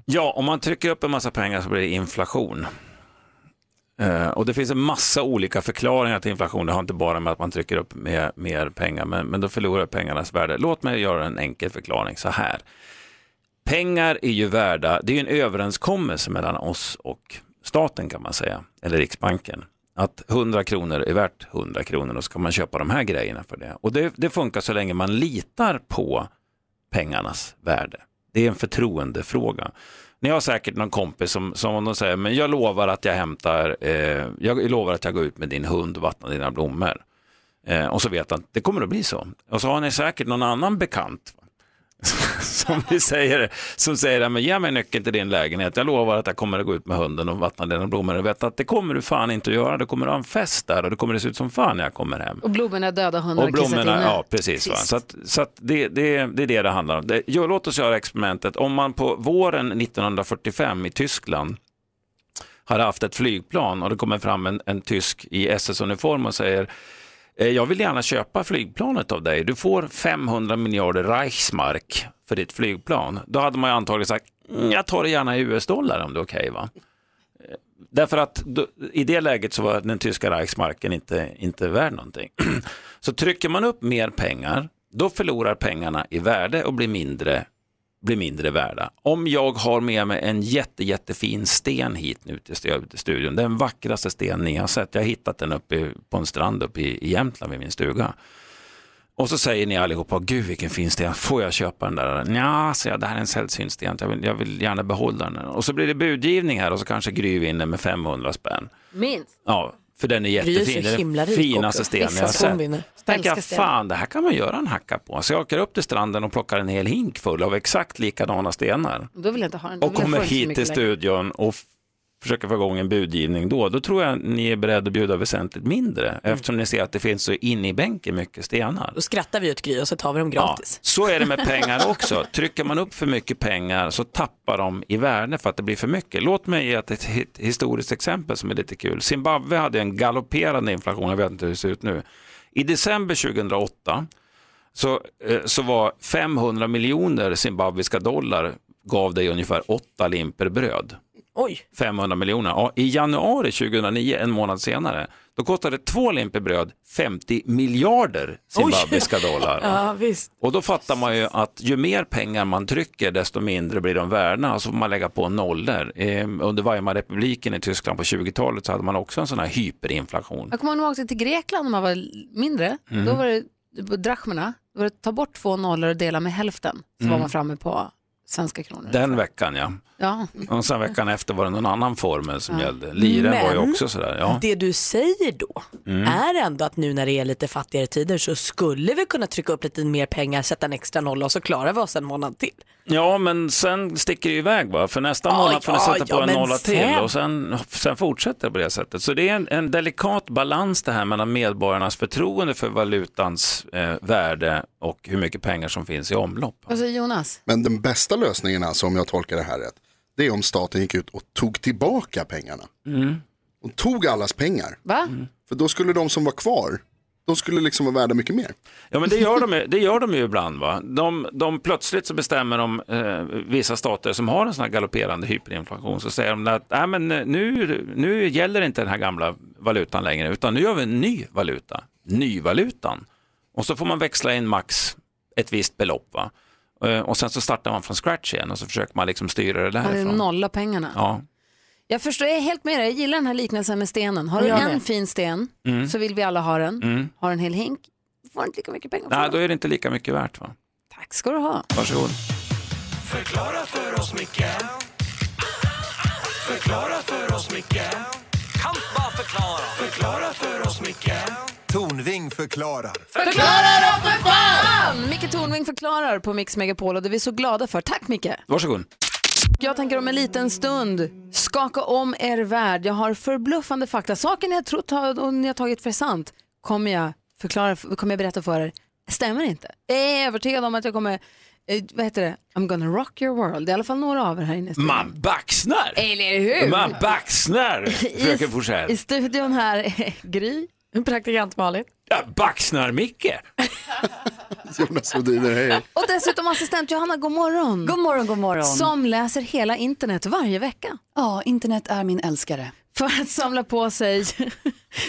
Speaker 17: Ja, om man trycker upp en massa pengar så blir det inflation. Eh, och det finns en massa olika förklaringar till inflation. Det har inte bara med att man trycker upp mer, mer pengar, men, men då förlorar pengarnas värde. Låt mig göra en enkel förklaring så här. Pengar är ju värda, det är ju en överenskommelse mellan oss och staten kan man säga, eller Riksbanken. Att 100 kronor är värt 100 kronor och så kan man köpa de här grejerna för det. Och det, det funkar så länge man litar på pengarnas värde. Det är en förtroendefråga. Ni har säkert någon kompis som, som om de säger, men jag lovar att jag hämtar, eh, jag lovar att jag går ut med din hund och vattnar dina blommor. Eh, och så vet han, det kommer att bli så. Och så har ni säkert någon annan bekant va? som, ni säger, som säger, men ge mig nyckeln till din lägenhet, jag lovar att jag kommer att gå ut med hunden och vattna dina blommor. Och vet att det kommer du fan inte att göra, det kommer att ha en fest där och det kommer att se ut som fan när jag kommer hem.
Speaker 1: Och blommorna är döda, hundarna
Speaker 17: Och
Speaker 1: har kissat
Speaker 17: blommorna,
Speaker 1: inne.
Speaker 17: ja precis. Va? Så, att, så att det, det, det är det det handlar om. Det, jo, låt oss göra experimentet. Om man på våren 1945 i Tyskland hade haft ett flygplan och det kommer fram en, en tysk i SS-uniform och säger "Eh, jag vill gärna köpa flygplanet av dig. Du får 500 miljarder Reichsmark för ditt flygplan. Då hade man ju antagligen sagt, "Mm, jag tar det gärna i US-dollar om det är okej va? Eh, Därför att då, i det läget så var den tyska Reichsmarken inte, inte värd någonting. Så trycker man upp mer pengar, då förlorar pengarna i värde och blir mindre, blir mindre värda. Om jag har med mig en jätte, jättefin sten hit nu till stu- till studion, den vackraste sten ni har sett, jag har hittat den uppe i- på en strand uppe i, i Jämtland vid min stuga. Och så säger ni allihopa, gud vilken fin sten, får jag köpa den där? Nja, säger jag, det här är en sällsynt sten, jag vill, jag vill gärna behålla den. Och så blir det budgivning här och så kanske Gry vinner med 500 spänn.
Speaker 1: Minst.
Speaker 17: Ja, för den är
Speaker 2: är ju
Speaker 17: jättefin.
Speaker 2: så
Speaker 17: Det är
Speaker 2: himla
Speaker 17: den
Speaker 2: rik
Speaker 17: finaste
Speaker 2: också.
Speaker 17: stenen
Speaker 2: Vissa
Speaker 17: jag har
Speaker 2: som
Speaker 17: sett.
Speaker 2: vinner.
Speaker 17: Så tänker
Speaker 2: Älskar
Speaker 17: jag,
Speaker 2: stenar.
Speaker 17: fan det här kan man göra en hacka på. Så jag åker upp till stranden och plockar en hel hink full av exakt likadana stenar.
Speaker 1: Då vill jag inte ha den. Då
Speaker 17: Och
Speaker 1: vill jag
Speaker 17: kommer
Speaker 1: få den så
Speaker 17: hit
Speaker 1: mycket
Speaker 17: till
Speaker 1: längre.
Speaker 17: studion och f- försöker få igång en budgivning då. Då tror jag ni är beredda att bjuda väsentligt mindre. Eftersom ni ser att det finns så in i bänken mycket stenar.
Speaker 2: Mm. Då skrattar vi ut Gry och så tar vi dem gratis.
Speaker 17: Ja, så är det med pengar också. Trycker man upp för mycket pengar så tappar de i värde för att det blir för mycket. Låt mig ge ett hi- historiskt exempel som är lite kul. Zimbabwe hade en galopperande inflation, jag vet inte hur det ser ut nu. I december 2008 så, eh, så var 500 miljoner zimbabwiska dollar gav dig ungefär åtta limper bröd.
Speaker 2: Oj.
Speaker 17: 500 miljoner. Ja, I januari 2009, en månad senare, då kostade två limper bröd 50 miljarder zimbabwiska dollar.
Speaker 2: Ja, visst.
Speaker 17: Och då fattar man ju att ju mer pengar man trycker desto mindre blir de värda och så får man lägga på nollor. Eh, under Weimarrepubliken i Tyskland på 20-talet så hade man också en sån här hyperinflation.
Speaker 1: Jag kommer ihåg när man åkte till Grekland när man var l- mindre.
Speaker 17: Mm.
Speaker 1: Då var det på drachmerna, då var det ta bort två nollor och dela med hälften. Så var
Speaker 17: Mm.
Speaker 1: man framme på svenska kronor.
Speaker 17: Den veckan ja.
Speaker 1: Ja.
Speaker 17: Och sen veckan efter var det någon annan formel som
Speaker 1: Ja.
Speaker 17: gällde. Liren var ju
Speaker 2: Men-
Speaker 17: också sådär. Ja.
Speaker 2: Det du säger då
Speaker 17: Mm.
Speaker 2: är ändå att nu när det är lite fattigare tider så skulle vi kunna trycka upp lite mer pengar, sätta en extra nolla och så klarar vi oss en månad till.
Speaker 17: Ja, men sen sticker det ju iväg va? För nästa
Speaker 2: Ja,
Speaker 17: månad får ni
Speaker 2: ja,
Speaker 17: sätta
Speaker 2: ja,
Speaker 17: på en
Speaker 2: men
Speaker 17: nolla
Speaker 2: sen-
Speaker 17: till och sen, sen fortsätter det på det sättet. Så det är en, en delikat balans det här mellan medborgarnas förtroende för valutans eh, värde och hur mycket pengar som finns i omlopp.
Speaker 1: Vad säger Jonas?
Speaker 7: Men den bästa lösningen alltså, om jag tolkar det här rätt, det är om staten gick ut och tog tillbaka pengarna. Och tog allas pengar.
Speaker 1: Va?
Speaker 7: För då skulle de som var kvar, de skulle liksom vara värda mycket mer.
Speaker 17: Ja, men det gör de, ju- det gör de ju ibland. Va? De, de plötsligt så bestämmer de eh, vissa stater som har en sån här galopperande hyperinflation så säger de att Nej, men eh, nu, nu gäller inte den här gamla valutan längre utan nu gör vi en ny valuta, nyvalutan. Och så får man växla in max ett visst belopp. Va? Eh, Och sen så startar man från scratch igen och så försöker man liksom styra det
Speaker 1: Man hade
Speaker 17: därifrån.
Speaker 1: nolla pengarna.
Speaker 17: Ja.
Speaker 1: Jag förstår, jag är helt med dig. Jag gillar den här liknelsen med stenen. Har du
Speaker 17: Jag
Speaker 1: en
Speaker 17: med.
Speaker 1: fin sten
Speaker 17: Mm.
Speaker 1: så vill vi alla ha den.
Speaker 17: Mm.
Speaker 1: Har en hel hink, får du inte lika mycket pengar.
Speaker 17: Nej, då är det inte lika mycket värt. Va?
Speaker 1: Tack ska du ha.
Speaker 17: Varsågod.
Speaker 8: Förklara för oss, Micke Förklara för oss, Micke Kan bara förklara Förklara för oss, Micke Tornving förklarar.
Speaker 20: Förklara
Speaker 1: då för fan! Micke Tornving förklarar på Mix Megapol och det är vi så glada för. Tack Micke!
Speaker 17: Varsågod.
Speaker 1: Jag tänker om en liten stund skaka om er värld. Jag har förbluffande fakta. Saker ni har trott har- och ni har tagit för sant kommer jag, förklara, kommer jag berätta för er. Stämmer inte. Jag är övertygad om att jag kommer, eh, vad heter det, I'm gonna rock your world. I alla fall några av er här inne.
Speaker 17: Man baxnar!
Speaker 1: Eller hur?
Speaker 17: Man baxnar, fröken Forsell.
Speaker 1: I studion här är Gry, praktikant Malin.
Speaker 17: Ja, Baxnar-Micke.
Speaker 7: Jonas Rhodiner, hej.
Speaker 1: Och dessutom assistent Johanna, god morgon.
Speaker 21: God morgon, god morgon.
Speaker 1: Som läser hela internet varje vecka.
Speaker 21: Ja, internet är min älskare.
Speaker 1: För att samla på sig, för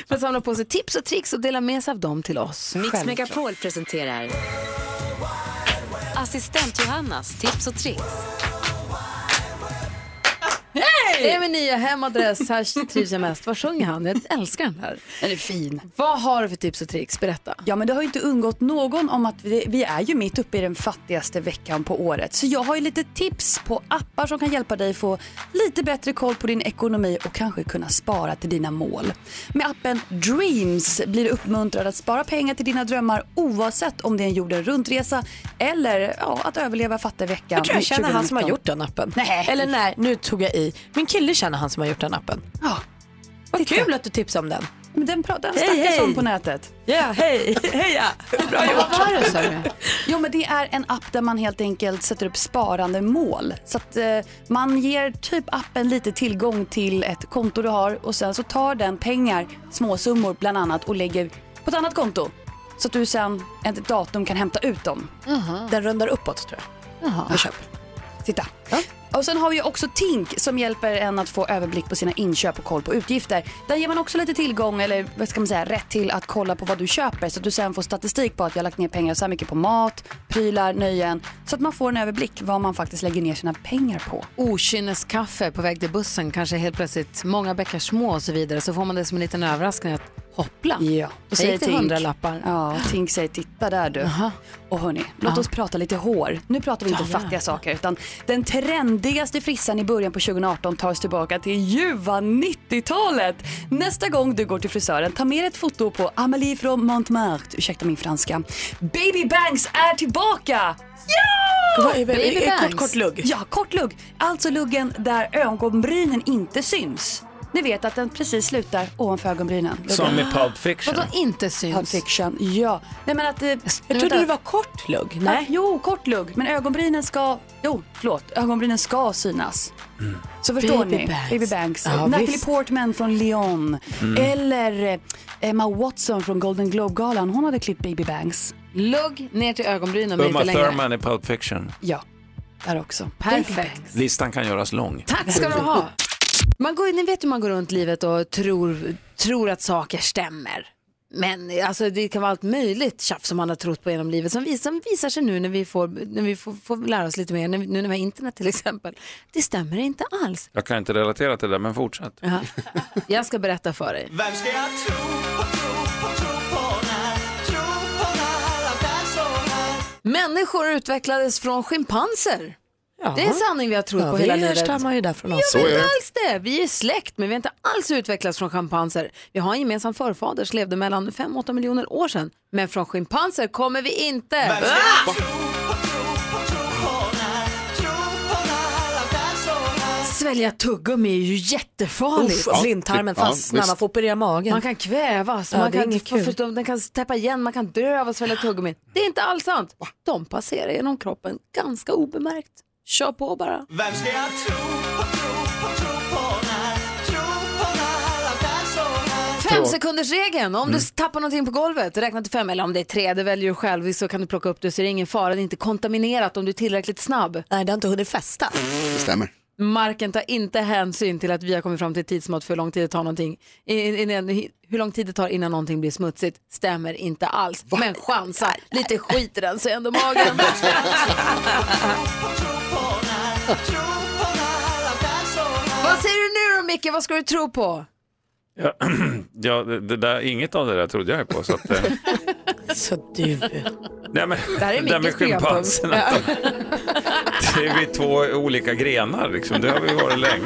Speaker 1: att samla på sig tips och tricks och dela med sig av dem till oss.
Speaker 12: Mix
Speaker 1: Självklart.
Speaker 12: Megapol presenterar Assistent Johannas tips och tricks.
Speaker 1: Hej! Det är min nya hemadress, här trivs jag mest. Vad sjunger han? Jag älskar den här.
Speaker 21: Den är fin.
Speaker 1: Vad har du för tips och tricks? Berätta.
Speaker 21: Ja, men det har ju inte undgått någon om att vi, vi är ju mitt uppe i den fattigaste veckan på året. Så jag har ju lite tips på appar som kan hjälpa dig få lite bättre koll på din ekonomi och kanske kunna spara till dina mål. Med appen Dreams blir du uppmuntrad att spara pengar till dina drömmar oavsett om det är en jorden runt-resa eller ja, att överleva fattiga veckan.
Speaker 2: Jag tror jag känner han som har
Speaker 21: 2019.
Speaker 2: gjort den appen. Eller nej, nu tog jag i. Min kille känner han som har gjort den appen.
Speaker 21: Ja.
Speaker 2: Vad kul att du tipsade om den.
Speaker 21: Men den pra- den
Speaker 2: Hej,
Speaker 21: snackas
Speaker 2: hej.
Speaker 21: om på nätet.
Speaker 2: Ja, hej, heja! Bra gjort.
Speaker 21: Vad var det sa du? Jo men det är en app där man helt enkelt sätter upp sparande mål. Så att eh, man ger typ appen lite tillgång till ett konto du har och sen så tar den pengar, småsummor bland annat och lägger på ett annat konto. Så att du sen ett datum kan hämta ut dem. Den rundar uppåt tror jag.
Speaker 1: Jaha.
Speaker 21: Vid köp. Titta. Och sen har vi också Tink som hjälper en att få överblick på sina inköp och koll på utgifter. Där ger man också lite tillgång, eller vad ska man säga, rätt till att kolla på vad du köper så att du sen får statistik på att jag har lagt ner pengar så här mycket på mat, prylar, nöjen. Så att man får en överblick vad man faktiskt lägger ner sina pengar på.
Speaker 1: Okynneskaffe på väg till bussen, kanske helt plötsligt många bäckar små och så vidare. Så får man det som en liten överraskning att hoppla.
Speaker 21: Ja,
Speaker 1: då säger till hundralappar.
Speaker 21: Ja, Tink säger titta där du. Och hörni, låt oss prata lite hår. Nu pratar vi inte
Speaker 1: Ja, ja.
Speaker 21: fattiga saker utan den trendigaste frissan i början på 2018 tar oss tillbaka till ljuva 90-talet. Nästa gång du går till frisören, ta med dig ett foto på Amelie från Montmartre, ursäkta min franska. Baby Banks är tillbaka! Ja!
Speaker 2: Vad är baby- Baby är kort, bangs. kort lugg?
Speaker 21: Ja, kort lugg. Alltså luggen där ögonbrynen inte syns. Ni vet att den precis slutar ovanför ögonbrynen.
Speaker 17: Som i Pulp Fiction.
Speaker 21: Vadå
Speaker 1: inte syns?
Speaker 21: Pulp Fiction, ja. Nej, men att, eh,
Speaker 2: Jag trodde det var kort lugg. Nej.
Speaker 21: jo, kort lugg. Men ögonbrynen ska... Jo, förlåt. Ögonbrynen ska synas. Så förstår
Speaker 1: Mm. Baby
Speaker 21: ni?
Speaker 1: Banks.
Speaker 21: Baby Banks.
Speaker 1: Ja,
Speaker 21: Natalie
Speaker 1: visst.
Speaker 21: Portman från Lyon.
Speaker 1: Mm.
Speaker 21: Eller eh, Emma Watson från Golden Globe-galan. Hon hade klippt Baby Banks.
Speaker 1: Lugg ner till ögonbrynen men
Speaker 17: Uma
Speaker 1: inte längre.
Speaker 17: Thurman i Pulp Fiction.
Speaker 21: Ja, där också.
Speaker 1: Perfekt.
Speaker 17: Listan kan göras lång.
Speaker 1: Tack ska du ha. Man går, ni vet hur man går runt livet och tror, tror att saker stämmer. Men alltså, det kan vara allt möjligt tjafs som man har trott på genom livet som, vis, som visar sig nu när vi får, när vi får, får lära oss lite mer, när, vi- nu när vi har internet till exempel. Det stämmer inte alls.
Speaker 17: Jag kan inte relatera till det, men fortsätt.
Speaker 1: Ja. Jag ska berätta för dig.
Speaker 20: Vem ska jag tro på, tro på, tro på när? Tro på när allt är så här?
Speaker 1: Människor utvecklades från schimpanser.
Speaker 2: Ja.
Speaker 1: Det är en sanning vi har trott
Speaker 2: Ja,
Speaker 1: på
Speaker 2: vi
Speaker 1: hela livet.
Speaker 2: härstammar ju därifrån
Speaker 1: Jag
Speaker 2: också.
Speaker 1: vet
Speaker 2: Så är
Speaker 1: inte
Speaker 2: det.
Speaker 1: alls det. Vi är släkt men vi har inte alls utvecklats från schimpanser. Vi har en gemensam förfader som levde mellan 5-8 miljoner år sedan. Men från schimpanser kommer vi inte. Ah! Svälja tuggummi är ju jättefarligt.
Speaker 2: Usch, och blindtarmen Ja, fastnar, visst. man får operera magen.
Speaker 1: Man kan kvävas,
Speaker 2: Ja,
Speaker 1: man
Speaker 2: det är
Speaker 1: kan,
Speaker 2: inget kul.
Speaker 1: för, de- den kan täppa igen, man kan dö av att svälja tuggummi. Det är inte alls sant. De passerar genom kroppen ganska obemärkt. Kör på bara.
Speaker 20: Vem ska jag tro på, tro på, tro på när? Tro på när allt är så här?
Speaker 1: Femsekundersregeln, om
Speaker 2: Mm.
Speaker 1: du tappar någonting på golvet, räkna till fem. Eller om det är tre, det väljer du själv. Så kan du plocka upp det så är det ingen fara. Det är inte kontaminerat om du är tillräckligt snabb.
Speaker 2: Nej, det har inte hunnit fästa.
Speaker 7: Det stämmer.
Speaker 1: Marken tar inte hänsyn till att vi har kommit fram till ett tidsmått för hur lång tid det tar någonting. in- Innan, hur lång tid det tar innan någonting blir smutsigt stämmer inte alls. Men chansa, lite skit i den så är ändå magen.
Speaker 20: Tro på när, tro på när allt är så här?
Speaker 1: Vad säger du nu då
Speaker 2: Micke, vad ska du tro på?
Speaker 17: Ja, ja, det det där, inget av det där trodde jag ju på. Så, att, eh,
Speaker 2: Så du.
Speaker 17: nej, men,
Speaker 2: Det här är
Speaker 17: det där med
Speaker 2: Mickes programpunkt.
Speaker 17: schimpanserna,
Speaker 2: Ja.
Speaker 17: det är vi två olika grenar liksom. Det har vi varit länge.